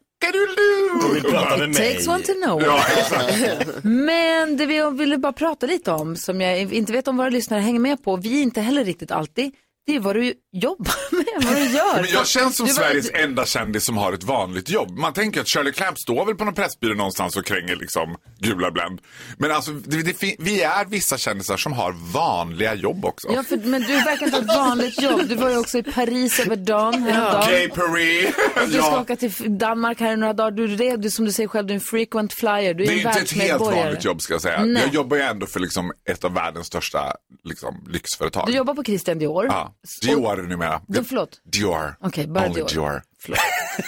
Speaker 10: Du vill
Speaker 5: prata
Speaker 1: It takes one to know.
Speaker 10: Ja, exakt.
Speaker 1: Men det vi ville bara prata lite om, som jag inte vet om våra lyssnare hänger med på, vi inte heller riktigt alltid, det är vad du jobbar med, vad du gör.
Speaker 10: Men jag känns som
Speaker 1: Du var-
Speaker 10: Sveriges enda kändis som har ett vanligt jobb. Man tänker att Shirley Clamp står väl på någon pressbyrå någonstans och kränger liksom gula Blend. Men alltså, det, det, fin- vi är vissa kändisar som har vanliga jobb också.
Speaker 1: Ja, för, men du verkar inte ha ett vanligt jobb. Du var ju också i Paris över dagen
Speaker 10: Gay
Speaker 1: häromdagen.
Speaker 10: Parade.
Speaker 1: Du ska
Speaker 10: Ja.
Speaker 1: åka till F- Danmark här i några dagar. Du, är- du, som du säger själv, du är en frequent flyer. Du
Speaker 10: Det
Speaker 1: är
Speaker 10: är
Speaker 1: en
Speaker 10: ju inte ett helt
Speaker 1: världsmedborgare.
Speaker 10: vanligt jobb ska jag säga.
Speaker 1: Nej.
Speaker 10: Jag jobbar ju ändå för liksom ett av världens största liksom, lyxföretag.
Speaker 1: Du jobbar på Christian Dior.
Speaker 10: Ja, Dior numera.
Speaker 1: Du, förlåt.
Speaker 10: Dior.
Speaker 1: Okej, bara
Speaker 10: Only
Speaker 1: Dior.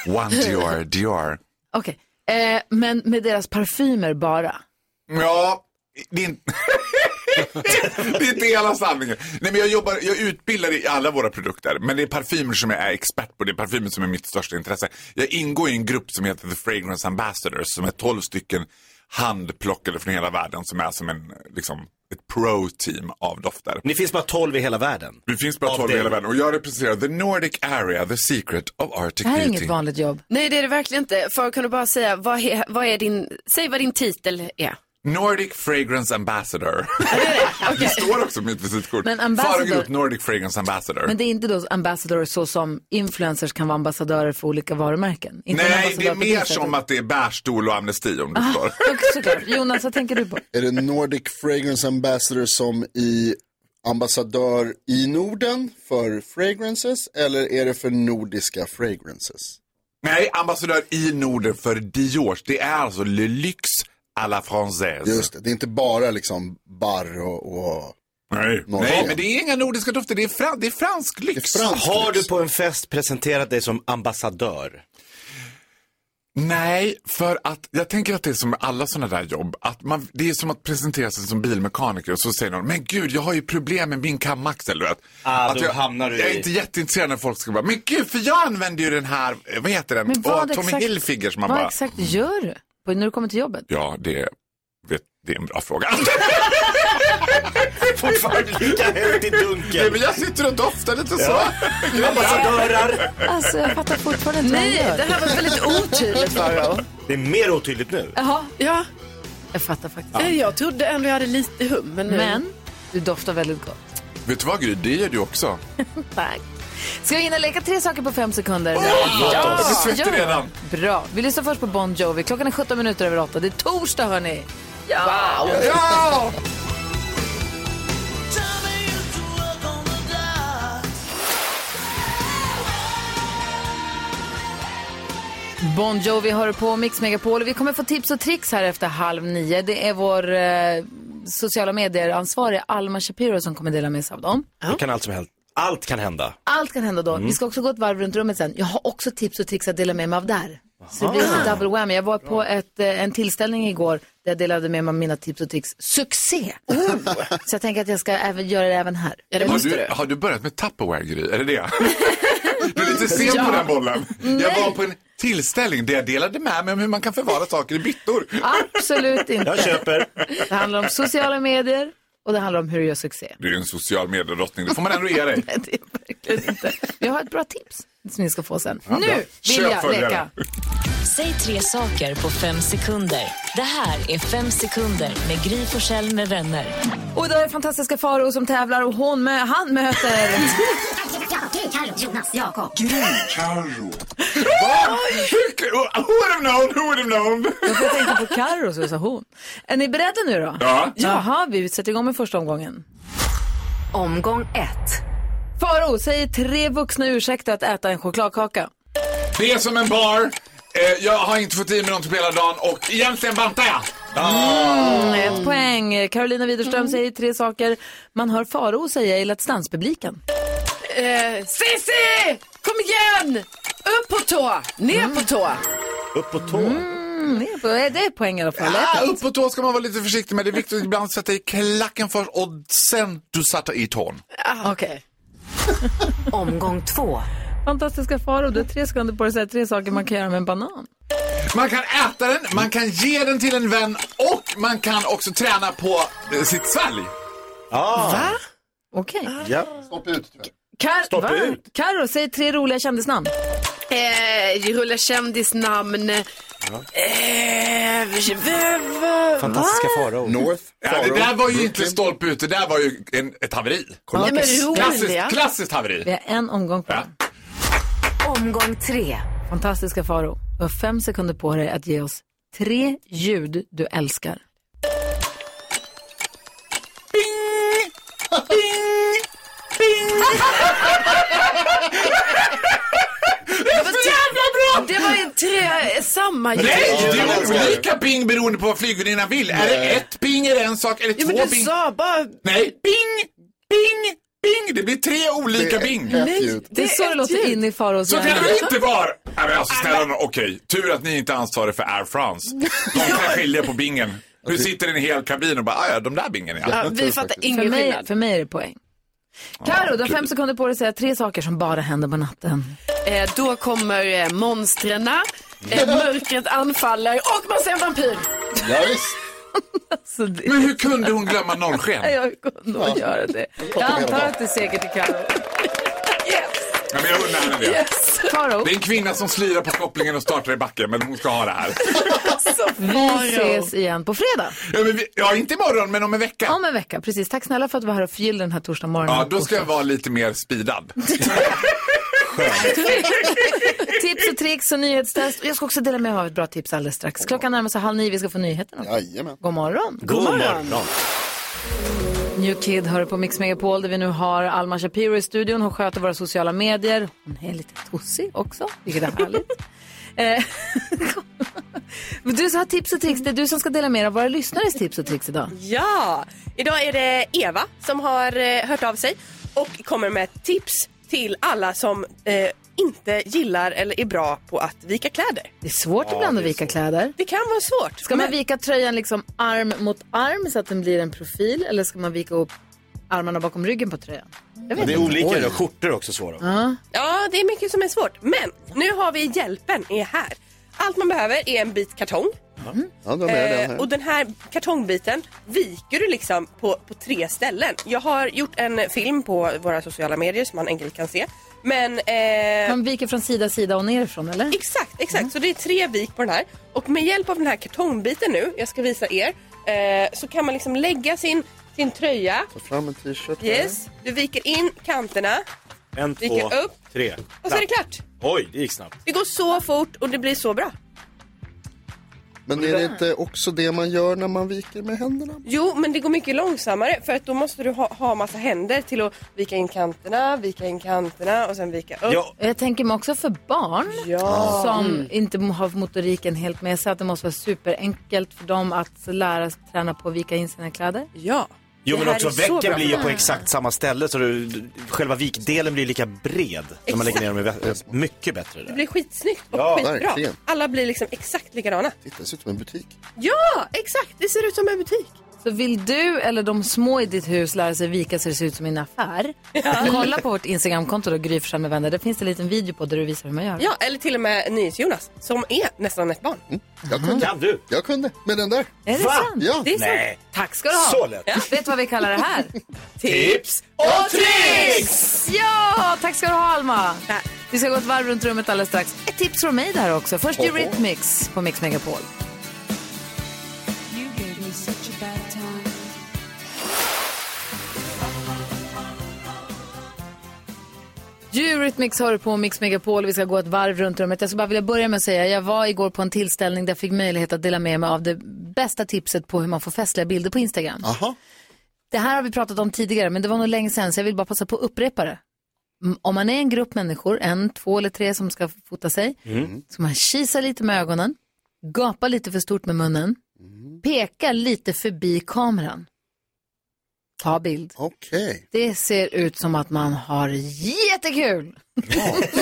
Speaker 10: Dior. One Dior, Dior.
Speaker 1: Okej. Eh, men med deras parfymer bara.
Speaker 10: Ja, det är, inte- det är inte hela sanningen. Nej, men jag, jobbar, jag utbildar i alla våra produkter, men det är parfymer som jag är expert på. Det är parfymer som är mitt största intresse. Jag ingår i en grupp som heter The Fragrance Ambassadors som är 12 stycken handplockade från hela världen som är som en, liksom, ett pro-team av dofter.
Speaker 5: Ni finns bara 12 i hela världen.
Speaker 10: Vi finns bara
Speaker 5: Av
Speaker 10: 12 i
Speaker 5: det.
Speaker 10: hela världen och jag representerar The Nordic Area, The Secret of Arctic
Speaker 1: Det här är
Speaker 10: Beauty.
Speaker 1: inget vanligt jobb.
Speaker 4: Nej, det är det verkligen inte. För kan du bara säga, vad är, vad är din, säg vad din titel är.
Speaker 10: Nordic Fragrance Ambassador. Det står också på mitt visitkort.
Speaker 1: Men ambassador-
Speaker 10: Farao Groth, Nordic Fragrance Ambassador.
Speaker 1: Men det är inte då ambassadörer så som influencers kan vara ambassadörer för olika varumärken? Inte en
Speaker 10: Nej, det
Speaker 1: ambassadör
Speaker 10: är
Speaker 1: på Ah.
Speaker 10: mer
Speaker 1: det sättet.
Speaker 10: som att det är bärstol och amnesti om du förstår.
Speaker 1: Såklart. Jonas, vad tänker du på?
Speaker 3: Är det Nordic Fragrance Ambassador som i ambassadör i Norden för fragrances eller är det för nordiska fragrances?
Speaker 10: Nej, ambassadör i Norden för Dior. Det är alltså Le Luxe à la Française.
Speaker 3: Just det, det är inte bara liksom barr och... och...
Speaker 10: Nej. Nej, men det är inga nordiska dofter. Det är, fran- det är fransk lyx.
Speaker 5: Har du på en fest presenterat dig som ambassadör?
Speaker 10: Nej, för att jag tänker att det är som med alla sådana där jobb. Att man, det är som att presentera sig som bilmekaniker och så säger någon, men gud, jag har ju problem med min kamaxel. Du vet.
Speaker 5: Ah,
Speaker 10: att
Speaker 5: då
Speaker 10: jag,
Speaker 5: hamnar du
Speaker 10: jag är
Speaker 5: i-
Speaker 10: inte jätteintresserad när folk ska bara, men gud, för jag använder ju den här, eh, vad heter den?
Speaker 1: Men
Speaker 10: Åh, Tommy Hilfiger som man
Speaker 1: vad
Speaker 10: bara,
Speaker 1: exakt gör du på, när du kommer till jobbet?
Speaker 10: ja, det, vet, det är en bra fråga.
Speaker 5: Fortfarande lika högt i
Speaker 10: Nej,
Speaker 5: dunken.
Speaker 10: men jag sitter och doftar lite så.
Speaker 5: Ja. Ambassadörer.
Speaker 1: Alltså, jag fattar fortfarande inte vad
Speaker 4: Nej,
Speaker 1: han gör.
Speaker 4: det här var väldigt otydligt, Farao.
Speaker 5: Det är mer otydligt nu.
Speaker 1: Jaha,
Speaker 4: Ja.
Speaker 1: jag fattar faktiskt.
Speaker 4: Nej, Jag trodde ändå jag hade lite hum, men nu.
Speaker 1: Men du doftar väldigt gott.
Speaker 10: Vet du vad Gry, det gör du också.
Speaker 1: Tack. Ska vi hinna leka tre saker på fem sekunder?
Speaker 10: Jag blir svettig redan.
Speaker 1: Bra. Vi lyssnar först på Bon Jovi. Klockan är 17 minuter över 8. Det är torsdag, hörni. Ja!
Speaker 10: Ja!
Speaker 1: Bon Jovi hör på Mix Megapol. Vi kommer få tips och tricks här efter halv nio. Det är vår eh, sociala medier-ansvarig Alma Shapiro som kommer dela med sig av dem.
Speaker 5: Det kan allt som helst. Allt kan hända.
Speaker 1: Allt kan hända då.
Speaker 5: Mm.
Speaker 1: Vi ska också gå ett varv runt rummet sen. Jag har också tips och tricks att dela med mig av där. Så det blir en double whammy. Jag var på ett, eh, en tillställning igår där jag delade med mig av mina tips och tricks. Succé! Så jag tänker att jag ska även göra det även här.
Speaker 10: har, du, har du börjat med Tupperware, Gry? Är det det? Du är lite inte se på den bollen. Jag
Speaker 1: Nej.
Speaker 10: var på en tillställning där jag delade med mig om hur man kan förvara saker i byttor.
Speaker 1: Absolut inte. Det handlar om sociala medier och det handlar om hur du gör succé.
Speaker 10: Du är en social mediedrottning, det får man ändå ge dig.
Speaker 1: Vi har ett bra tips som ni ska få sen.
Speaker 10: Ja,
Speaker 1: nu
Speaker 10: bra.
Speaker 1: vill
Speaker 10: Köp
Speaker 1: jag
Speaker 10: följare.
Speaker 1: leka.
Speaker 2: Säg tre saker på fem sekunder. Det här är Fem sekunder med Gry Forssell med vänner.
Speaker 1: Och idag är det fantastiska Faro som tävlar och hon mö- han möter...
Speaker 2: Jonas, Jakob.
Speaker 10: Carro. Vad? Hur kan- Who would have known? Who would have known?
Speaker 1: Jag tänkte på Carro så sa hon. Är ni beredda nu då?
Speaker 10: Ja.
Speaker 1: Jaha, vi sätter igång med första omgången. Omgång ett. Faro säger tre vuxna ursäkter att äta en chokladkaka.
Speaker 10: Det är som en bar. Eh, jag har inte fått i mig någonting på hela dagen och egentligen bantar jag.
Speaker 1: Mm, ett poäng. Carolina Widerström säger tre saker man hör Faro säga i Let's Dance-publiken.
Speaker 4: Eh, Cissi! Kom igen! Upp på tå, ner på tå.
Speaker 5: Upp på tå.
Speaker 1: Mm, det är po- det är poäng i alla fall.
Speaker 10: Ja, upp på tå ska man vara lite försiktig med. Det är viktigt att ibland sätta i klacken först och sen du sätter i tån.
Speaker 1: Okej. Omgång två. Fantastiska Faro, du har tre sekunder på dig att säga tre saker man kan göra med en banan.
Speaker 10: Man kan äta den, man kan ge den till en vän och man kan också träna på eh, sitt svalg.
Speaker 1: Va? Okej.
Speaker 10: Ah. Ja.
Speaker 3: Stopp ut.
Speaker 1: Kar-
Speaker 10: Stoppa
Speaker 1: va?
Speaker 10: ut.
Speaker 1: Karo, säg tre roliga kändisnamn.
Speaker 4: Eh, rulla kändisnamn. Eh, v- v-
Speaker 10: Fantastiska
Speaker 5: faror.
Speaker 10: North. Ja, det där
Speaker 5: Farao.
Speaker 10: var ju
Speaker 5: Brooklyn.
Speaker 10: inte stolpe ut, det där var ju en, ett haveri.
Speaker 1: Kolla. Nej, men roliga.
Speaker 10: klassiskt, klassiskt haveri.
Speaker 1: Vi har en omgång kvar. Omgång tre. Fantastiska Faro, du har fem sekunder på dig att ge oss tre ljud du älskar.
Speaker 4: Det var jävla bra! Det var en tre, samma ljud.
Speaker 10: Nej, det är olika ping beroende på vad flygvärdinnan vill. Är det ett ping är det en sak, eller
Speaker 4: Ja,
Speaker 10: två
Speaker 4: men du
Speaker 10: ping?
Speaker 4: sa bara...
Speaker 10: Nej, ping, ping, ping. Det blir tre olika ping.
Speaker 1: Det är så det låter in i Faros
Speaker 10: Så kan det inte vara! Nej, men alltså snälla nån, okej. Tur att ni inte är ansvariga för Air France. De kan skilja på bingen. Nu sitter en hel kabin och bara, "Ah, ja, de där bingen ja.
Speaker 1: för mig, för mig är det poäng. Karo, du har fem
Speaker 4: kul.
Speaker 1: sekunder på dig att säga tre saker som bara händer på natten.
Speaker 4: Eh, då kommer eh, monstren, eh, mörkret anfaller och man ser en vampyr.
Speaker 10: Ja,
Speaker 1: alltså, det...
Speaker 10: Men hur kunde hon glömma norrsken?
Speaker 1: Jag kunde nog göra det. Jag antar att det är seger till Karo.
Speaker 10: Ja, men jag undrar henne det.
Speaker 1: Yes. Faro.
Speaker 10: Det är en kvinna som slirar på kopplingen och startar i backen, men hon ska ha det här.
Speaker 1: Vi ses igen på fredag.
Speaker 10: Ja, men vi, ja inte imorgon, men om en vecka.
Speaker 1: Om en vecka, precis. Tack snälla för att du var här och förgyllde den här torsdag
Speaker 10: Ja,
Speaker 1: morgonen.
Speaker 10: då ska jag vara lite mer speedad.
Speaker 1: Tips och tricks och nyhetstest. Och jag ska också dela med mig av ett bra tips alldeles strax. Klockan närmar sig halv nio, vi ska få nyheterna.
Speaker 3: Jajamän.
Speaker 1: God morgon.
Speaker 3: God morgon.
Speaker 1: New Kid hör på Mix Megapol där vi nu har Alma Shapiro i studion. Hon sköter våra sociala medier. Hon är lite tossig också, vilket är härligt. Eh, Men du som har tips och tricks, det är du som ska dela med dig av våra lyssnares tips och tricks idag.
Speaker 13: Ja, idag är det Eva som har eh, hört av sig och kommer med ett tips till alla som eh, inte gillar eller är bra på att vika kläder.
Speaker 1: Det är svårt ibland att vika kläder.
Speaker 13: Det kan vara svårt.
Speaker 1: Ska man vika tröjan liksom arm mot arm så att den blir en profil eller ska man vika upp armarna bakom ryggen på tröjan? Jag vet
Speaker 5: Det är
Speaker 1: inte.
Speaker 5: olika, då. skjortor är också svåra.
Speaker 1: Ja.
Speaker 13: Ja, det är mycket som är svårt. Men nu har vi hjälpen är här. Allt man behöver är en bit kartong.
Speaker 3: Ja, de är den
Speaker 13: Eh,
Speaker 3: här.
Speaker 13: och den här kartongbiten viker du liksom på, på tre ställen. Jag har gjort en film på våra sociala medier som man enkelt kan se. Men eh,
Speaker 1: Man viker från sida, sida och nerifrån eller? Mm.
Speaker 13: Exakt, exakt. Så det är tre vik på den här. Och med hjälp av den här kartongbiten nu, jag ska visa er, eh, så kan man liksom lägga sin, sin tröja.
Speaker 3: Ta fram en t-shirt. här.
Speaker 13: Yes. Du viker in kanterna
Speaker 5: En,
Speaker 13: Dyker
Speaker 5: två,
Speaker 13: upp.
Speaker 5: tre.
Speaker 13: och så är det klart.
Speaker 5: Oj, det gick snabbt.
Speaker 13: Det går så fort och det blir så bra.
Speaker 3: Men är det inte också det man gör när man viker med händerna?
Speaker 13: Jo, men det går mycket långsammare för att då måste du ha, ha massa händer till att vika in kanterna, vika in kanterna och sen vika upp.
Speaker 1: Jag tänker mig också för barn
Speaker 13: Ja.
Speaker 1: som
Speaker 13: Mm.
Speaker 1: inte har motoriken helt med sig att det måste vara superenkelt för dem att lära sig träna på att vika in sina kläder.
Speaker 13: Ja.
Speaker 5: Jo
Speaker 1: Det
Speaker 5: men
Speaker 1: här
Speaker 5: också
Speaker 1: är så
Speaker 5: veckan
Speaker 1: bra.
Speaker 5: blir ju på exakt samma ställe så du, du- själva vikdelen blir lika bred när man lägger ner dem i vä- eh, Mycket bättre
Speaker 13: Det
Speaker 5: där.
Speaker 13: blir skitsnyggt och
Speaker 5: Ja,
Speaker 13: skitbra.
Speaker 5: verkligen.
Speaker 13: Alla blir liksom exakt likadana.
Speaker 3: Titta, det ser ut som en butik.
Speaker 13: Ja, exakt! Det ser ut som en butik.
Speaker 1: Så vill du eller de små i ditt hus lära sig vika så det ser ut som en affär, kolla på vårt Instagramkonto då, Gry Forssell med vänner. Där finns det en liten video på där du visar hur man gör.
Speaker 13: Ja, eller till och med NyhetsJonas som är nästan ett barn.
Speaker 3: Mm. Jag kunde.
Speaker 5: Kan du?
Speaker 3: Jag kunde, med den där.
Speaker 13: Eh.
Speaker 1: Är det sant?
Speaker 3: Ja.
Speaker 1: Det är sant.
Speaker 3: Nej.
Speaker 1: Tack ska du ha.
Speaker 3: Så lätt.
Speaker 1: Ja. Vet du vad vi kallar det här?
Speaker 5: Tips
Speaker 1: och tricks! Ja, tack ska du ha Alma. Vi ska gå ett varv runt rummet alldeles strax. Ett tips från mig där också. Först
Speaker 14: Oho.
Speaker 1: Eurythmics på Mix Megapol. Eurythmics hör på Mix Megapol. Vi ska gå ett varv runt rummet. Jag skulle bara vilja börja med att säga, jag var igår på en tillställning där jag fick möjlighet att dela med mig av det bästa tipset på hur man får festliga bilder på Instagram.
Speaker 3: Aha.
Speaker 1: Det här har vi pratat om tidigare, men det var nog länge sedan, så jag vill bara passa på att upprepa det. M- Om man är en grupp människor, en, två eller tre som ska fota sig, så man kisar lite med ögonen, gapar lite för stort med munnen, pekar lite förbi kameran. Ta bild.
Speaker 3: Okej.
Speaker 1: Det ser ut som att man har jättekul.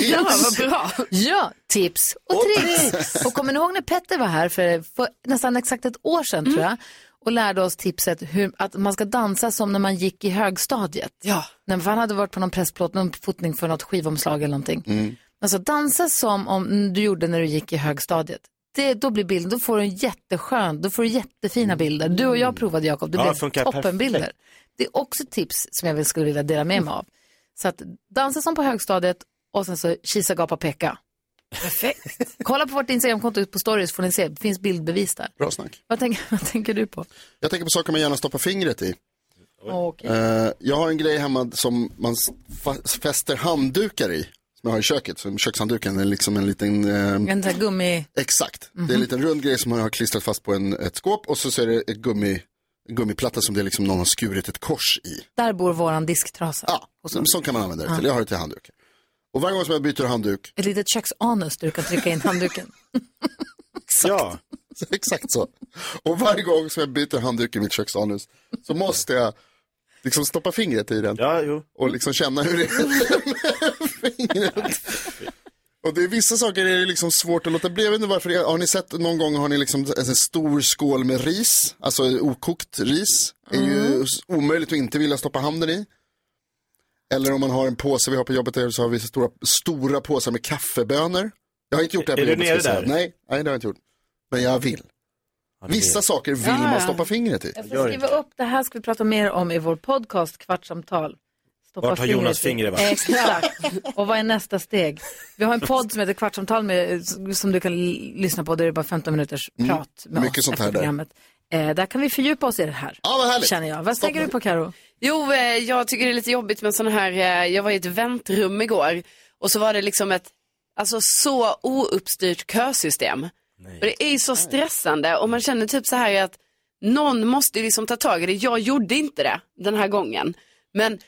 Speaker 1: Ja, vad bra. Ja, tips och, tricks. Och kommer ni ihåg när Petter var här för, för nästan exakt ett år sedan tror jag och lärde oss tipset hur, att man ska dansa som när man gick i högstadiet. Ja. När, för han hade varit på någon pressplåt, någon fotning för något skivomslag eller någonting. Alltså dansa som om du gjorde när du gick i högstadiet. Det, då blir bilden, då får du en jätteskön, då får du jättefina bilder. Du och jag provade Jakob, det
Speaker 5: Mm. Ja, det
Speaker 1: blev
Speaker 5: funkar
Speaker 1: toppenbilder.
Speaker 5: perfekt.
Speaker 1: Det är också ett tips som jag väl skulle vilja dela med mig av. Så att dansa som på högstadiet och sen så kisa, gapa, peka. Perfekt. Kolla på vårt Instagramkonto på stories får ni se, det finns bildbevis där.
Speaker 3: Bra snack.
Speaker 1: Vad tänker, vad tänker du på?
Speaker 3: Jag tänker på saker man gärna stoppar fingret i.
Speaker 1: Okej.
Speaker 3: Eh, jag har en grej hemma som man s- fa- fäster handdukar i. Som jag har i köket. Som kökshandduken är liksom en liten... eh,
Speaker 1: En sån här Mhm. gummi...
Speaker 3: Exakt. Det är en liten rund grej som man har klistrat fast på en, ett skåp. Och så, så är det ett gummi, en gummiplatta som det är liksom någon har skurit ett kors i.
Speaker 1: Där bor våran disktrasa.
Speaker 3: Och så, sån kan man använda det till. Jag har det till handdukar. Och varje gång som jag byter handduk
Speaker 1: Ett litet köksanus där du kan trycka in handduken.
Speaker 3: Ja. Exakt så. Och varje gång som jag byter handduk i mitt köksanus så måste jag liksom stoppa fingret i den. Och liksom känna hur det är med fingret. Och det är vissa saker är det liksom svårt att låta bli. Jag vet inte varför. det är. Har ni sett någon gång har ni liksom en sån stor skål med ris, alltså okokt ris. Det är
Speaker 1: Mm.
Speaker 3: ju s- omöjligt att inte vilja stoppa handen i. Eller om man har en påse, vi har på jobbet där så har vi stora, stora påsar med kaffebönor. Jag har inte gjort det här på
Speaker 5: Är du
Speaker 3: jobbet, ska jag säga.
Speaker 5: nere där?
Speaker 3: Nej, nej, det har jag inte gjort. Men jag vill. Vissa saker vill
Speaker 1: Ja, ja.
Speaker 3: man stoppa fingret i.
Speaker 1: Jag får skriva upp, det här ska vi prata mer om i vår podcast Kvartsamtal. Stoppa
Speaker 5: Vart har Jonas
Speaker 1: fingret i.
Speaker 5: fingret varit?
Speaker 1: Exakt. Och vad är nästa steg? Vi har en podd som heter Kvartsamtal med, som du kan l- lyssna på. Där det är bara 15 minuters
Speaker 3: Mm,
Speaker 1: prat med
Speaker 3: mycket
Speaker 1: oss
Speaker 3: sånt här
Speaker 1: efter
Speaker 3: där.
Speaker 1: programmet. Eh, där kan vi fördjupa oss i det här.
Speaker 3: Ja, vad härligt.
Speaker 1: Känner jag. Vad tänker du på Karo?
Speaker 4: Jo, eh, jag tycker det är lite jobbigt med sådana här, eh, jag var i ett väntrum igår och så var det liksom ett, alltså så ouppstyrt kösystem. Och det är ju så stressande och man känner typ så här att någon måste ju liksom ta tag i det. Jag gjorde inte det den här gången. Men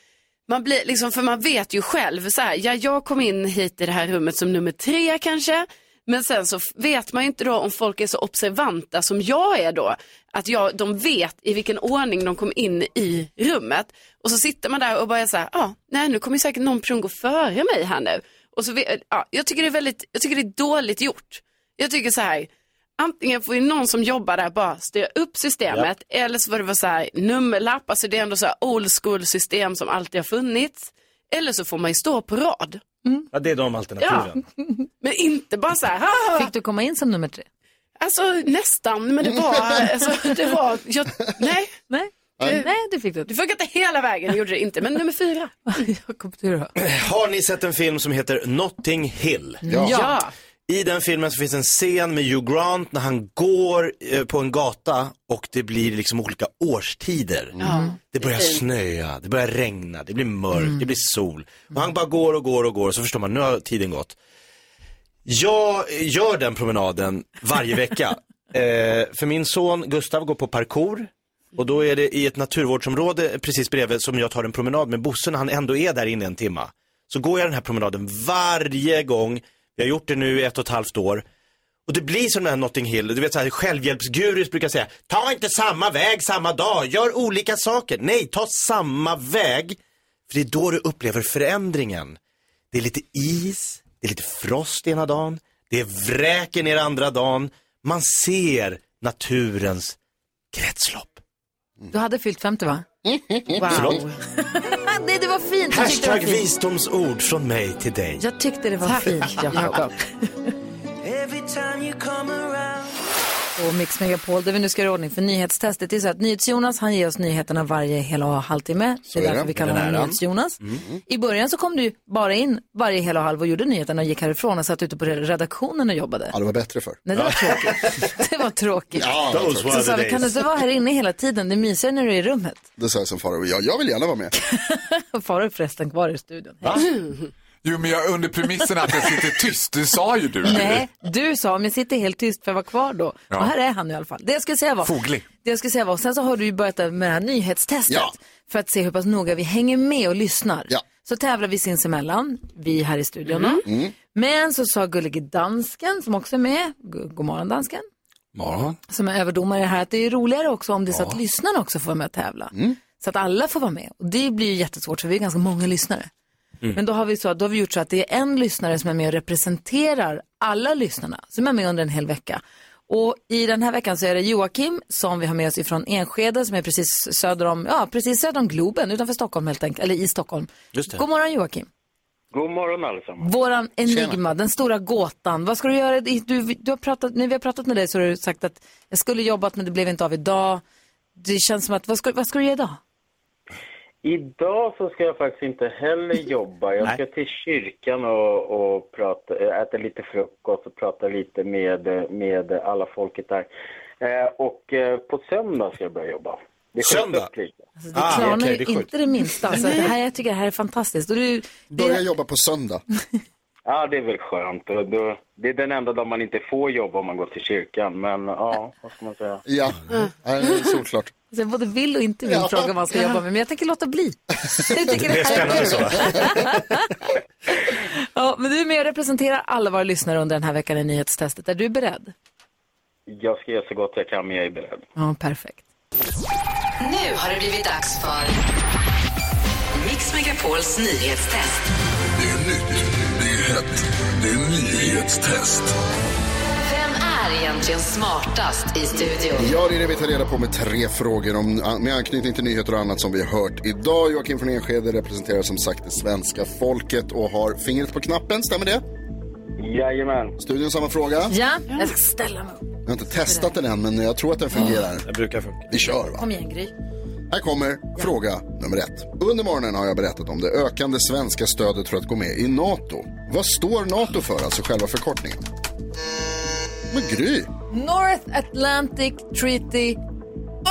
Speaker 4: man blir liksom, för man vet ju själv så här, ja jag kom in hit i det här rummet som nummer tre kanske. Men sen så f- vet man ju inte då om folk är så observanta som jag är då. Att jag, de vet i vilken ordning de kom in i rummet. Och så sitter man där och bara är så här, ja, nej nu kommer ju säkert någon person gå före mig här nu. Och så, ve- ja, jag tycker det är väldigt, jag tycker det är dåligt gjort. Jag tycker så här, antingen får ju någon som jobbar där bara styra upp systemet eller så får det vara så här nummerlapp, alltså det är ändå så här old school system som alltid har funnits. Eller så får man ju stå på rad.
Speaker 5: Ja, det är de alternativen.
Speaker 4: Men inte bara så här, "Ah!"
Speaker 1: Fick du komma in som nummer tre?
Speaker 4: Alltså nästan,
Speaker 3: Mm.
Speaker 4: men det var, alltså, det var, jag, nej.
Speaker 1: Nej.
Speaker 4: Det,
Speaker 1: nej, det fick du.
Speaker 4: Det funkade inte hela vägen, det gjorde det inte, men nummer fyra.
Speaker 5: Eh, Har ni sett en film som heter Notting Hill?
Speaker 4: Ja. Ja.
Speaker 5: I den filmen så finns en scen med Hugh Grant när han går eh, på en gata och det blir liksom olika årstider.
Speaker 15: Ja,
Speaker 5: Det börjar
Speaker 15: det är fint.
Speaker 5: snöa, det börjar regna, det blir mörkt, det blir sol. Och han bara går och går och går och så förstår man, nu har tiden gått. Jag gör den promenaden varje vecka. eh, för min son Gustav går på parkour. Och då är det i ett naturvårdsområde precis bredvid som jag tar en promenad med Bosse när han ändå är där inne en timma. Så går jag den här promenaden varje gång. Jag har gjort det nu i ett och ett halvt år. Och det blir som den här Notting Hill, du vet så här självhjälpsgurus brukar säga, ta inte samma väg samma dag, gör olika saker. Nej, ta samma väg. För det är då du upplever förändringen. Det är lite is, det är lite frost ena dagen, det är vräker ner andra dagen. Man ser naturens kretslopp.
Speaker 1: Du hade fyllt 50 va?
Speaker 3: Mm.
Speaker 5: Förlåt?
Speaker 1: Nej, det var fint. Jag tyckte det var
Speaker 5: Hashtag
Speaker 1: fint.
Speaker 5: visdomsord från mig till dig.
Speaker 1: Jag tyckte det var fint, Jakob. på Mix Megapol där vi nu ska göra ordning för nyhetstestet. Det är så att NyhetsJonas han ger oss nyheterna varje hela och halvtimme. Det
Speaker 2: Så
Speaker 1: är
Speaker 2: är
Speaker 1: därför
Speaker 2: det.
Speaker 1: vi kallar
Speaker 2: Den
Speaker 1: honom
Speaker 2: äran.
Speaker 1: NyhetsJonas.
Speaker 2: Mm.
Speaker 1: I början så kom du ju bara in varje hela och halv och gjorde nyheterna och gick härifrån och satt ute på redaktionen och jobbade.
Speaker 3: Ja, det var bättre för.
Speaker 1: Nej, det var tråkigt. Det var tråkigt.
Speaker 3: Ja, det var tråkigt.
Speaker 1: så sa vi, kan du inte vara här inne hela tiden? Det är mysigare när du är i rummet.
Speaker 3: Det sa jag som Farao, ja, jag vill gärna vara med.
Speaker 1: Farao är förresten kvar i studion.
Speaker 10: Jo, men jag under premissen att jag sitter tyst, det sa ju du.
Speaker 1: Nej, du sa, men jag sitter helt tyst för jag var kvar då.
Speaker 10: Ja.
Speaker 1: Och här är han nu i alla fall. Det jag skulle säga var...
Speaker 10: Foglig.
Speaker 1: Det jag skulle säga var, sen så har du ju börjat med det här nyhetstestet.
Speaker 2: Ja.
Speaker 1: För att se hur pass noga vi hänger med och lyssnar. Så tävlar vi sinsemellan, vi här i studion. då.
Speaker 2: Mm.
Speaker 1: Men så sa gullige dansken, som också är med, Gu- god morgon dansken,
Speaker 8: Morgon.
Speaker 1: som är överdomare här, att det är roligare också om det är så att lyssnarna också får vara med och tävla.
Speaker 9: Mm.
Speaker 1: Så att alla får vara med. Och det blir ju jättesvårt för vi är ganska många lyssnare.
Speaker 2: Mm.
Speaker 1: Men då har, vi så, då har vi gjort så att det är en lyssnare som är med och representerar alla lyssnarna, som är med under en hel vecka. Och i den här veckan så är det Joakim som vi har med oss ifrån Enskede som är precis söder om, ja, precis söder om Globen, utanför Stockholm helt enkelt, eller i Stockholm.
Speaker 9: Just det.
Speaker 1: God morgon Joakim.
Speaker 9: God morgon allesammans.
Speaker 1: Våran enigma, den stora gåtan. Vad ska du göra? i- Du, du har pratat, när vi har pratat med dig så har du sagt att jag skulle jobbat men det blev inte av idag. Det känns som att, vad ska, vad ska du göra idag?
Speaker 9: Idag så ska jag faktiskt inte heller jobba. Jag ska till kyrkan och, och prata, äta lite frukost och prata lite med, med alla folket där. Eh, och eh, på söndag ska jag börja jobba. Det skjuts
Speaker 1: Söndag?
Speaker 9: upp
Speaker 5: Ah,
Speaker 9: lite.
Speaker 1: Det klarnar ju inte det minsta. Alltså, det här, jag tycker det här är fantastiskt. Och du,
Speaker 3: Börja jobba på söndag.
Speaker 9: Ja, det är väl skönt. Och då, det är den enda dagen man inte får jobba om man går till kyrkan. Men ja, vad ska man säga?
Speaker 3: Ja,
Speaker 4: Mm.
Speaker 3: solklart.
Speaker 1: Så jag alltså, både vill och inte vill
Speaker 9: Ja.
Speaker 1: fråga vad man ska jobba med, men jag tänker låta bli. Jag tycker
Speaker 9: Det är
Speaker 1: här
Speaker 9: spännande
Speaker 1: kul.
Speaker 9: så, va?
Speaker 1: ja, men du är med och representerar alla våra lyssnare under den här veckan i nyhetstestet. Är du beredd?
Speaker 9: Jag ska göra så gott jag kan, men jag är beredd.
Speaker 1: Ja, perfekt.
Speaker 2: Nu har det blivit dags för Mix Megapols nyhetstest.
Speaker 16: Det är nytt, det är hett, det är nyhetstest.
Speaker 2: Vem är egentligen smartast i studion?
Speaker 3: Ja, det är det vi tar reda på med tre frågor om, med anknytning till nyheter och annat som vi har hört idag. Joakim från Enskede representerar som sagt det svenska folket och har fingret på knappen, stämmer det?
Speaker 9: Jajamän.
Speaker 3: Studion samma fråga.
Speaker 1: Ja, jag ska ställa mig upp.
Speaker 3: Jag har inte testat den än, men jag tror att den fungerar.
Speaker 5: Det brukar funka.
Speaker 3: Vi kör va?
Speaker 1: Kom igen, Gry.
Speaker 3: Här kommer fråga nummer ett. Under morgonen har jag berättat om det ökande svenska stödet för att gå med i NATO. Vad står NATO för, alltså själva förkortningen? Men Gry!
Speaker 1: North Atlantic Treaty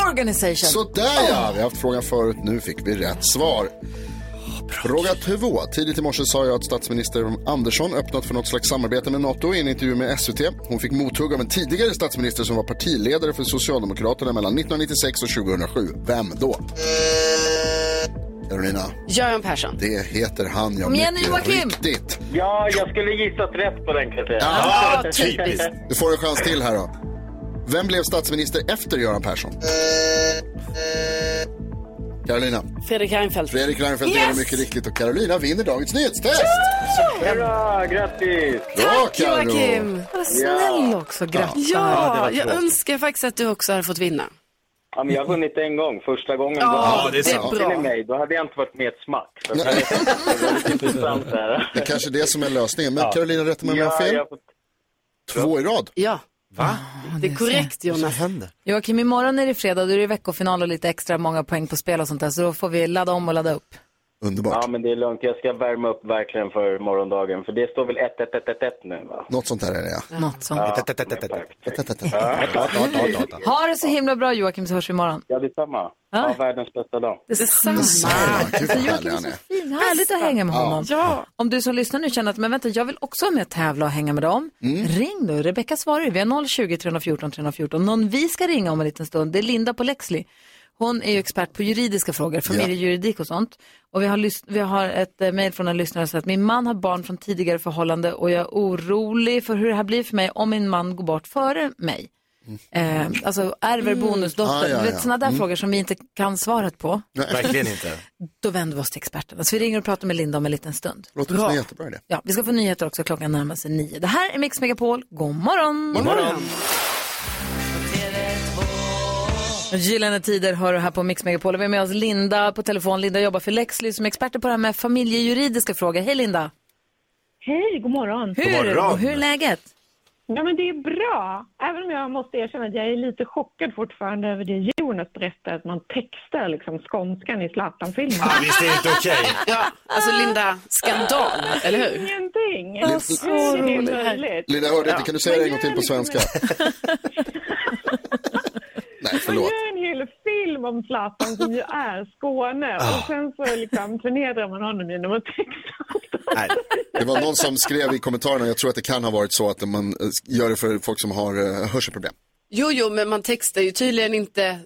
Speaker 1: Organization.
Speaker 3: Sådär ja, vi har haft frågan förut. Nu fick vi rätt svar.
Speaker 4: Ah,
Speaker 3: Fråga två. Tidigt i morse sa jag att statsminister Andersson öppnat för något slags samarbete med NATO i en intervju med SVT. Hon fick mothugg av en tidigare statsminister som var partiledare för Socialdemokraterna mellan 1996 och 2007. Vem då? Carolina,
Speaker 4: Göran Persson.
Speaker 3: det heter han jag
Speaker 4: Kom igen nu, Joakim!
Speaker 3: riktigt.
Speaker 9: Ja, jag skulle gissat rätt på den kan jag säga.
Speaker 3: Du får en chans till här då. Vem blev statsminister efter Göran Persson? Carolina.
Speaker 17: Fredrik Reinfeldt.
Speaker 3: Fredrik Reinfeldt är det mycket riktigt och Carolina vinner dagens nyhetstest.
Speaker 9: Hurra, grattis!
Speaker 3: Bra,
Speaker 4: Tack
Speaker 3: Karo.
Speaker 4: Joakim!
Speaker 1: Vad
Speaker 9: snäll
Speaker 1: också,
Speaker 9: grattis. Ja, det
Speaker 4: Ja,
Speaker 9: var
Speaker 4: jag
Speaker 9: tråkigt.
Speaker 4: önskar faktiskt att du också hade fått vinna.
Speaker 9: Ja, men jag har vunnit en gång, första gången.
Speaker 4: Ja,
Speaker 9: Då-
Speaker 4: Ja, det är sant.
Speaker 9: Hade ni
Speaker 4: bra.
Speaker 9: Mig, då hade jag inte varit med ett smack. Så det var lite intressant där.
Speaker 3: Det är kanske det som är lösningen. Men Carolina, rätta mig om jag har
Speaker 9: Ja,
Speaker 3: fel.
Speaker 9: jag
Speaker 3: Två i rad.
Speaker 4: Ja.
Speaker 3: Va?
Speaker 1: Det är korrekt,
Speaker 4: Jonas. Vad
Speaker 3: händer?
Speaker 1: Joakim, imorgon är det fredag, då är det veckofinal och lite extra många poäng på spel och sånt där, så då får vi ladda om och ladda upp.
Speaker 3: Underbart.
Speaker 9: Ja, men det är lugnt. Jag ska värma upp verkligen för morgondagen. För det står väl 1-1-1-1 nu, va?
Speaker 3: Något sånt här är det, ja.
Speaker 1: Något sånt.
Speaker 9: Ja,
Speaker 1: Ha det så himla bra Joakim, så hörs vi imorgon.
Speaker 9: Ja, detsamma. Ha världens bästa dag.
Speaker 1: Detsamma. Alltså, Joakim är så fin, härligt att hänga med
Speaker 9: Ja.
Speaker 1: honom.
Speaker 9: Ja.
Speaker 1: Om du som lyssnar nu känner att, men vänta, jag vill också vara med och tävla och hänga med dem.
Speaker 2: Mm.
Speaker 1: Ring då, Rebecka svarar ju. Vi har 020 314 314. Någon vi ska ringa om en liten stund, det är Linda på Lexley. Hon är ju expert på juridiska frågor, familjejuridik och sånt. Och vi har, lys- vi har ett eh, mejl från en lyssnare som säger att min man har barn från tidigare förhållande och jag är orolig för hur det här blir för mig om min man går bort före mig. Eh, alltså ärver
Speaker 2: Mm.
Speaker 1: bonusdotter,
Speaker 2: Ah, ja,
Speaker 1: du
Speaker 2: ja.
Speaker 1: vet sådana där
Speaker 2: Mm.
Speaker 1: frågor som vi inte kan svaret på.
Speaker 5: Verkligen inte.
Speaker 1: Då vänder vi oss till experterna. Så vi ringer och pratar med Linda om en liten stund.
Speaker 3: Låter som en jättebra idé.
Speaker 1: Ja, vi ska få nyheter också. Klockan närmar sig nio. Det här är Mix Megapol. God morgon!
Speaker 2: God morgon.
Speaker 1: Gyllene tider hör du här på Mix Megapol. Vi har med oss Linda på telefon. Linda jobbar för Lexly som är experter på det här med familjejuridiska frågor. Hej Linda!
Speaker 18: Hej, god morgon.
Speaker 1: Hur, god morgon. hur är läget?
Speaker 18: Ja, men det är bra. Även om jag måste erkänna att jag är lite chockad fortfarande över det Jonas berättade, att man textar liksom skånskan i Zlatan-filmen.
Speaker 4: Ja,
Speaker 5: visst är det inte okej?
Speaker 4: Ja, alltså Linda, skandal, eller hur?
Speaker 18: Ingenting!
Speaker 4: Ja, så
Speaker 18: Hur är
Speaker 4: roligt.
Speaker 18: det möjligt?
Speaker 3: Linda, jag hörde inte. Kan du säga det en gång till på svenska? Nej,
Speaker 18: Man
Speaker 3: förlåt.
Speaker 18: gör en hel film om Zlatan som ju är Skåne och
Speaker 3: Ah.
Speaker 18: sen så liksom förnedrar man honom genom att texta.
Speaker 3: Det var någon som skrev i kommentarerna, jag tror att det kan ha varit så att man eh, gör det för folk som har eh, hörselproblem.
Speaker 4: Jo, jo, men man textar ju tydligen inte,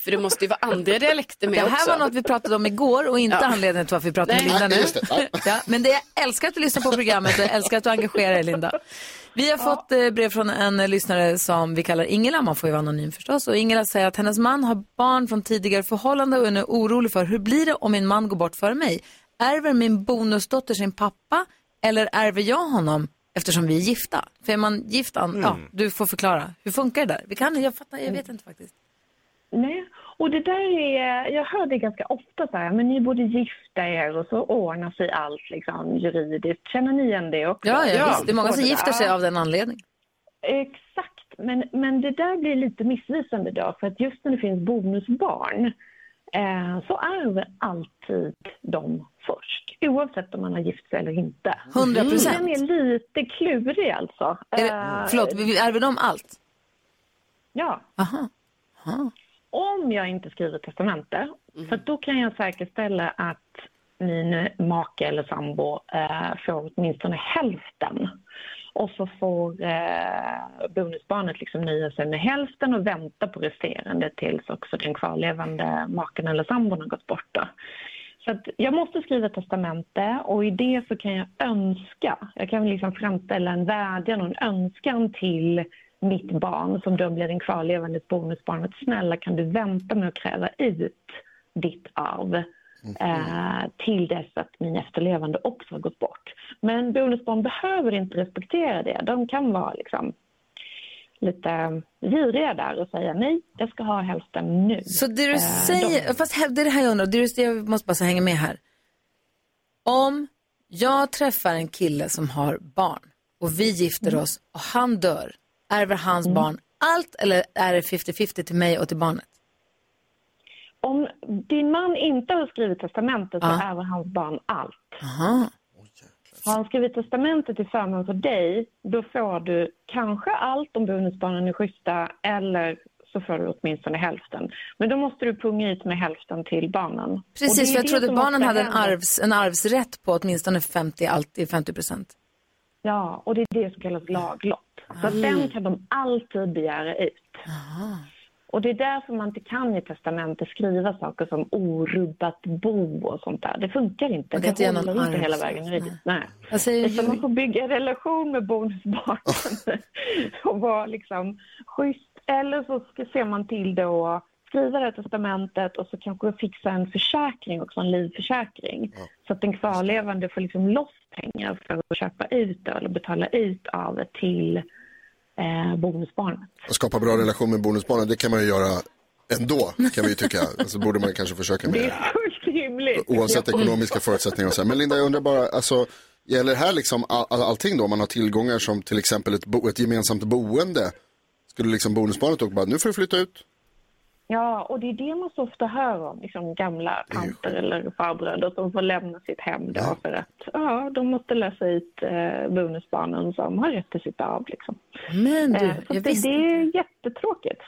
Speaker 4: för det måste ju vara andra dialekter
Speaker 1: Det
Speaker 4: med
Speaker 1: här
Speaker 4: också.
Speaker 1: var något vi pratade om igår och inte
Speaker 4: Ja.
Speaker 1: anledningen till varför vi pratar med
Speaker 4: Nej.
Speaker 1: Linda
Speaker 4: Nej,
Speaker 1: nu.
Speaker 4: just det. Ja.
Speaker 1: Ja, men det jag älskar att du lyssnar på programmet och jag älskar att du engagerar dig Linda. Vi har fått eh, brev från en eh, lyssnare som vi kallar Ingela, man får ju vara anonym förstås. Och Ingela säger att hennes man har barn från tidigare förhållanden och är nu orolig för hur blir det om min man går bort före mig? Ärver min bonusdotter sin pappa eller ärver jag honom eftersom vi är gifta? För är man gift, an- ja,
Speaker 4: Mm.
Speaker 1: du får förklara. Hur funkar det där? Vi kan, jag fattar, jag vet inte faktiskt.
Speaker 18: Nej, och det där är, jag hör det ganska ofta så här, men ni borde gifta er och så ordnar sig allt liksom juridiskt. Känner ni igen det också?
Speaker 1: Ja, ja, visst. Det är många som gifter sig
Speaker 18: Ja.
Speaker 1: av den anledningen.
Speaker 18: Exakt, men, men det där blir lite missvisande då för att just när det finns bonusbarn eh, så ärver alltid de först, oavsett om man har gift sig eller inte.
Speaker 1: 100%.
Speaker 18: Den Mm, är lite klurig alltså.
Speaker 1: Är
Speaker 18: Eh,
Speaker 1: det, förlåt, vi- vi ärver de allt?
Speaker 18: Ja. Om jag inte skriver testamente,
Speaker 1: Mm.
Speaker 18: för då kan jag säkerställa att min make eller sambo eh, får åtminstone hälften. Och så får eh, bonusbarnet liksom nöja sig med hälften och vänta på resterande tills också den kvarlevande maken eller sambon har gått bort. Då. Så att jag måste skriva ett testamente och i det så kan jag önska. Jag kan liksom framställa en vädjan och en önskan till mitt barn som då blir den kvarlevandes bonusbarn. Att snälla kan du vänta med att kräva ut ditt arv eh, till dess att min efterlevande också har gått bort. Men bonusbarn behöver inte respektera det. De kan vara liksom lite giriga där och säga nej, jag ska ha hälften nu.
Speaker 1: Så det du
Speaker 18: Eh,
Speaker 1: säger, fast här- det är det här jag undrar, det du, det jag måste bara så hänga med här. Om jag träffar en kille som har barn och vi gifter
Speaker 18: Mm.
Speaker 1: oss och han dör, ärver hans barn allt eller är det 50-50 till mig och till barnet?
Speaker 18: Om din man inte har skrivit testamentet så
Speaker 1: Ja.
Speaker 18: ärver hans barn allt.
Speaker 1: Aha.
Speaker 18: Har han skrivit testamentet till förmån för dig, då får du kanske allt om bonusbarnen är schyssta eller så får du åtminstone hälften. Men då måste du punga ut med hälften till barnen. Och det är
Speaker 1: Precis, för jag
Speaker 18: det
Speaker 1: trodde
Speaker 18: som
Speaker 1: barnen
Speaker 18: ofta
Speaker 1: hade en,
Speaker 18: händer.
Speaker 1: arvs, en arvsrätt på åtminstone 50, alltid 50 procent.
Speaker 18: Ja, och det är det som kallas laglott. Så att
Speaker 1: Mm.
Speaker 18: den kan de alltid begära ut. Och det är därför man inte kan i testamentet skriva saker som orubbat bo och sånt där. Det funkar inte.
Speaker 1: Man kan inte
Speaker 18: det
Speaker 1: göra någon
Speaker 18: håller inte hela
Speaker 1: arvsrätt,
Speaker 18: vägen juridiskt. Nej.
Speaker 1: Alltså,
Speaker 18: Utan man får bygga en relation med bonusbarnen och vara liksom schysst. Eller så ska- ser man till det och skriva det här testamentet och så kanske fixa en försäkring också, en livförsäkring. Så att den kvarlevande får liksom loss pengar för att köpa ut det eller betala ut arvet till eh, bonusbarnet.
Speaker 3: Att skapa bra relation med bonusbarnen, det kan man ju göra ändå, kan vi ju tycka. Alltså borde man kanske försöka med.
Speaker 18: Det är fullt rimligt.
Speaker 3: Oavsett ekonomiska förutsättningar och så här. Men Linda, jag undrar bara, alltså, gäller här liksom all, all, allting då? Om man har tillgångar som till exempel ett, bo, ett gemensamt boende. Skulle liksom bonusbarnet och bara, nu får du flytta ut.
Speaker 18: Ja, och det är det man så ofta hör om, liksom gamla tanter eller farbröder som får lämna sitt hem då för att ja, de måste lösa ut eh, bonusbarnen som har rätt till sitt arv. Liksom.
Speaker 1: Men du,
Speaker 18: eh, så
Speaker 1: jag
Speaker 18: att det,
Speaker 1: visste
Speaker 18: det är jättetråkigt.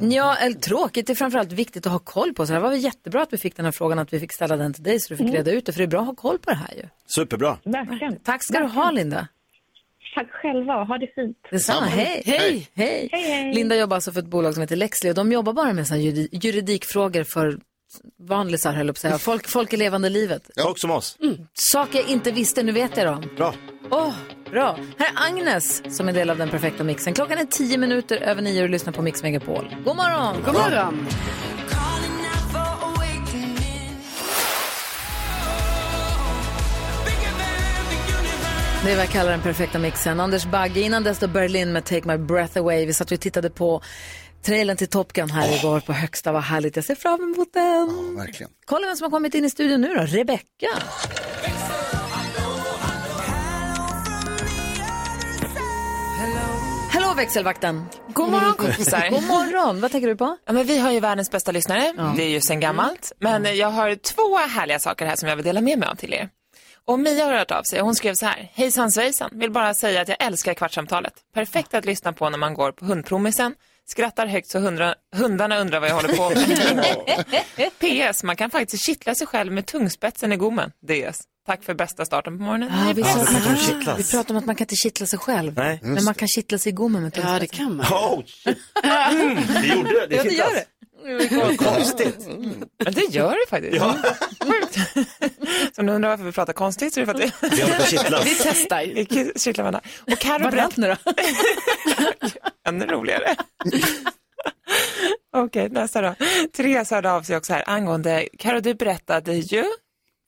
Speaker 1: Ja, eller tråkigt. Det är framförallt viktigt att ha koll på. Så det var väl jättebra att vi fick den här frågan, att vi fick ställa den till dig så du fick
Speaker 18: Mm.
Speaker 1: reda ut det. För det är bra att ha koll på det här ju.
Speaker 5: Superbra.
Speaker 18: Verkligen.
Speaker 1: Tack ska du ha, Linda.
Speaker 18: Tack själva och ha det fint.
Speaker 1: Detsamma. Hej. Hej. Hej. Linda jobbar alltså för ett bolag som heter Lexley och de jobbar bara med så här juri- juridikfrågor för vanlisar, höll jag på att säga. Folk, folk i levande livet.
Speaker 5: Folk som oss.
Speaker 1: Saker jag inte visste, nu vet jag dem.
Speaker 5: Bra.
Speaker 1: Åh, bra. Här är Agnes som är del av den perfekta mixen. Klockan är tio minuter över nio och du lyssnar på Mix Megapol. God morgon!
Speaker 4: God morgon!
Speaker 1: Det är vad jag kallar den perfekta mixen. Anders Bagge, innan dess då Berlin med Take My Breath Away. Vi satt och tittade på Trailern till Top Gun här igår på högsta, vad härligt. Jag ser fram emot den.
Speaker 3: verkligen.
Speaker 1: Kolla vem som har kommit in i studion nu då, Rebecca. Hallå växelvakten.
Speaker 19: God morgon kompisar.
Speaker 1: Mm. God morgon, vad tänker du på?
Speaker 19: Ja, men vi har ju världens bästa lyssnare, det är ju sen gammalt. Men
Speaker 1: Mm.
Speaker 19: jag har två härliga saker här som jag vill dela med mig av till er. Och Mia har hört av sig och hon skrev så här. Hejsan svejsan, vill bara säga att jag älskar Kvartsamtalet. Perfekt att lyssna på när man går på hundpromisen, skrattar högt så hundra, hundarna undrar vad jag håller på med. PS, man kan faktiskt kittla sig själv med tungspetsen i gommen. DS. Tack för bästa starten på morgonen.
Speaker 1: Ah, vi,
Speaker 19: Ja,
Speaker 1: sa
Speaker 19: det
Speaker 1: att man
Speaker 19: kan
Speaker 1: kan,
Speaker 19: kittlas.
Speaker 1: vi pratade om att man kan inte kittla sig själv,
Speaker 19: Nej,
Speaker 1: men
Speaker 19: just
Speaker 1: man kan kittla sig i gommen med Ja, det kan
Speaker 4: man.
Speaker 5: Oh, Mm,
Speaker 19: Mm,
Speaker 5: Det gjorde det.
Speaker 1: Ja, det gör
Speaker 5: kittlas.
Speaker 1: det.
Speaker 5: Vad konstigt.
Speaker 19: Men det gör det faktiskt. Ja. Så om ni undrar varför vi pratar konstigt så är det för att
Speaker 5: Vi håller på att kittlas. Vi
Speaker 4: testar.
Speaker 19: Vi kittlar varandra. Och Carro
Speaker 1: Vart
Speaker 19: berätt...
Speaker 1: allt nu då?
Speaker 19: Ännu roligare. Okej, nästa då. Therese hörde av sig också här angående, Carro du berättade ju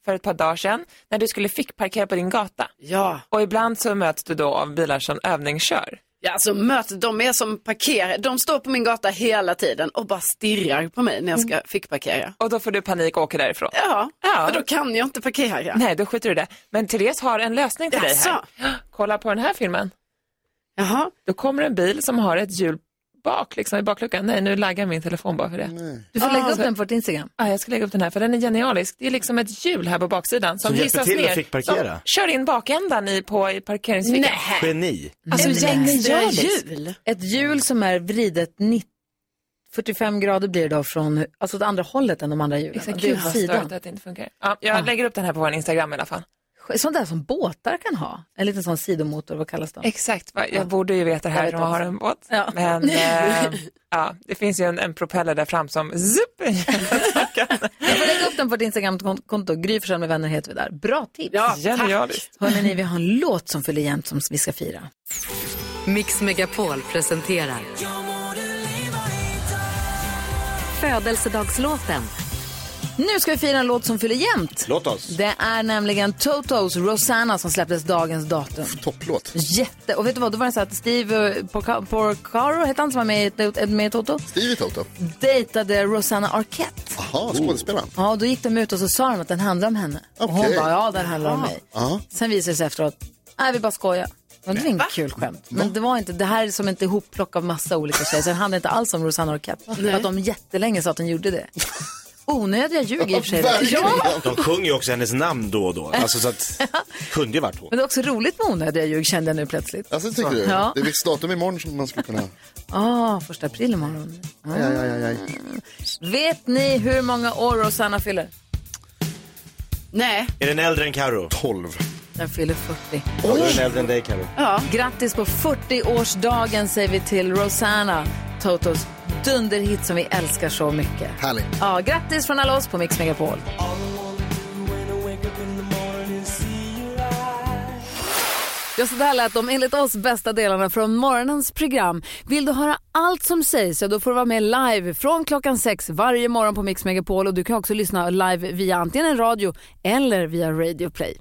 Speaker 19: för ett par dagar sedan när du skulle fick parkera på din gata.
Speaker 4: Ja.
Speaker 19: Och ibland så möts du då av bilar som övningskör.
Speaker 4: Ja, alltså möt, de är som parkerar. De står på min gata hela tiden och bara stirrar på mig när jag ska fick parkera.
Speaker 19: Och då får du panik och åker därifrån.
Speaker 4: Ja,
Speaker 19: Ja.
Speaker 4: för då kan jag inte parkera.
Speaker 19: Nej, då skiter du i det. Men Therese har en lösning till dig här. Kolla på den här filmen.
Speaker 4: Jaha.
Speaker 19: Då kommer en bil som har ett hjul bak, liksom i bakluckan. Nej, nu laggar min telefon bara för det.
Speaker 1: Du får lägga upp
Speaker 19: Så-
Speaker 1: den på vårt Instagram.
Speaker 19: Ja, jag ska lägga upp den här, för den är genialisk. Det är liksom ett hjul här på baksidan som,
Speaker 5: Som hjälper
Speaker 19: hissas
Speaker 5: till och
Speaker 19: ner.
Speaker 5: fick parkera.
Speaker 19: Som kör in bakändan i, på, i parkeringsfickan.
Speaker 5: Geni.
Speaker 19: Alltså,
Speaker 1: Nej.
Speaker 19: genialiskt.
Speaker 1: Ett hjul som är vridet 90, 45 grader blir det då från alltså åt andra hållet än de andra hjulen.
Speaker 19: Exakt,
Speaker 1: Det är
Speaker 19: gud vad
Speaker 1: sidan.
Speaker 19: störigt att det inte funkar. Ja, jag lägger upp den här på vår Instagram i alla fall.
Speaker 1: Sånt där som båtar kan ha. En liten sån sidomotor, vad kallas de?
Speaker 19: Exakt, va? jag borde ju veta det här
Speaker 1: Jag
Speaker 19: om
Speaker 1: vet
Speaker 19: jag har
Speaker 1: också.
Speaker 19: en båt.
Speaker 1: Ja.
Speaker 19: Men eh, ja, det finns ju en, en propeller där fram som zup,
Speaker 1: Du får lägga upp den på ditt Instagramkonto. Gry Forssell med vänner heter vi där. Bra tips.
Speaker 19: Ja, Genialiskt.
Speaker 1: Hörrni, ni, vi har en låt som fyller jämnt som vi ska fira.
Speaker 14: Mix Megapol presenterar Födelsedagslåten.
Speaker 1: Nu ska vi fira en låt som fyller jämnt.
Speaker 5: Låt oss.
Speaker 1: Det är nämligen Totos Rosanna som släpptes dagens datum.
Speaker 3: Topplåt.
Speaker 1: Jätte. Och vet du vad, då var det så att Steve eh, Porca- Porcaro, hette han som var med i, med i Toto?
Speaker 3: Stevie Toto.
Speaker 1: Dejtade Rosanna Arquette.
Speaker 3: Jaha, skådespelaren.
Speaker 1: Ja, och då gick de ut och så sa de att den handlar om henne. Och hon
Speaker 3: Okej. Ah.
Speaker 1: bara, ja den handlar om
Speaker 3: Jaha.
Speaker 1: mig.
Speaker 3: Ja.
Speaker 1: Sen visade det sig efteråt, nej vi bara skojar. Men det var inget kul skämt. Men det var inte, det här är som ett ihopplock av massa olika tjejer. Så det handlar inte alls om Rosanna Arquette. För att de jättelänge sa att de gjorde det. Onödiga ljug i och för sig.
Speaker 5: De sjunger ju också hennes namn då och då. Alltså så att, kunde ju varit hon.
Speaker 1: Men det är också roligt med onödiga ljug kände jag nu plötsligt.
Speaker 3: Alltså, tycker du?
Speaker 1: Ja.
Speaker 3: Det är visst datum imorgon som man skulle kunna...
Speaker 1: Ah, första april imorgon. Ah.
Speaker 3: Aj, aj, aj, aj.
Speaker 1: Mm. Vet ni hur många år Rosanna fyller?
Speaker 4: Nej.
Speaker 5: Är den äldre än Karo?
Speaker 3: 12.
Speaker 1: Den fyller 40.
Speaker 5: Ja, då är den äldre än dig Karo.
Speaker 1: Ja. Grattis på 40-årsdagen säger vi till Rosanna, Totos dunderhit som vi älskar så mycket.
Speaker 3: Härligt.
Speaker 1: Ja, grattis från alla oss på Mix Megapol. Ja, så där lät de enligt oss bästa delarna från morgonens program. Vill du höra allt som sägs så då får du vara med live från klockan sex varje morgon på Mix Megapol och du kan också lyssna live via antingen en radio eller via Radio Play.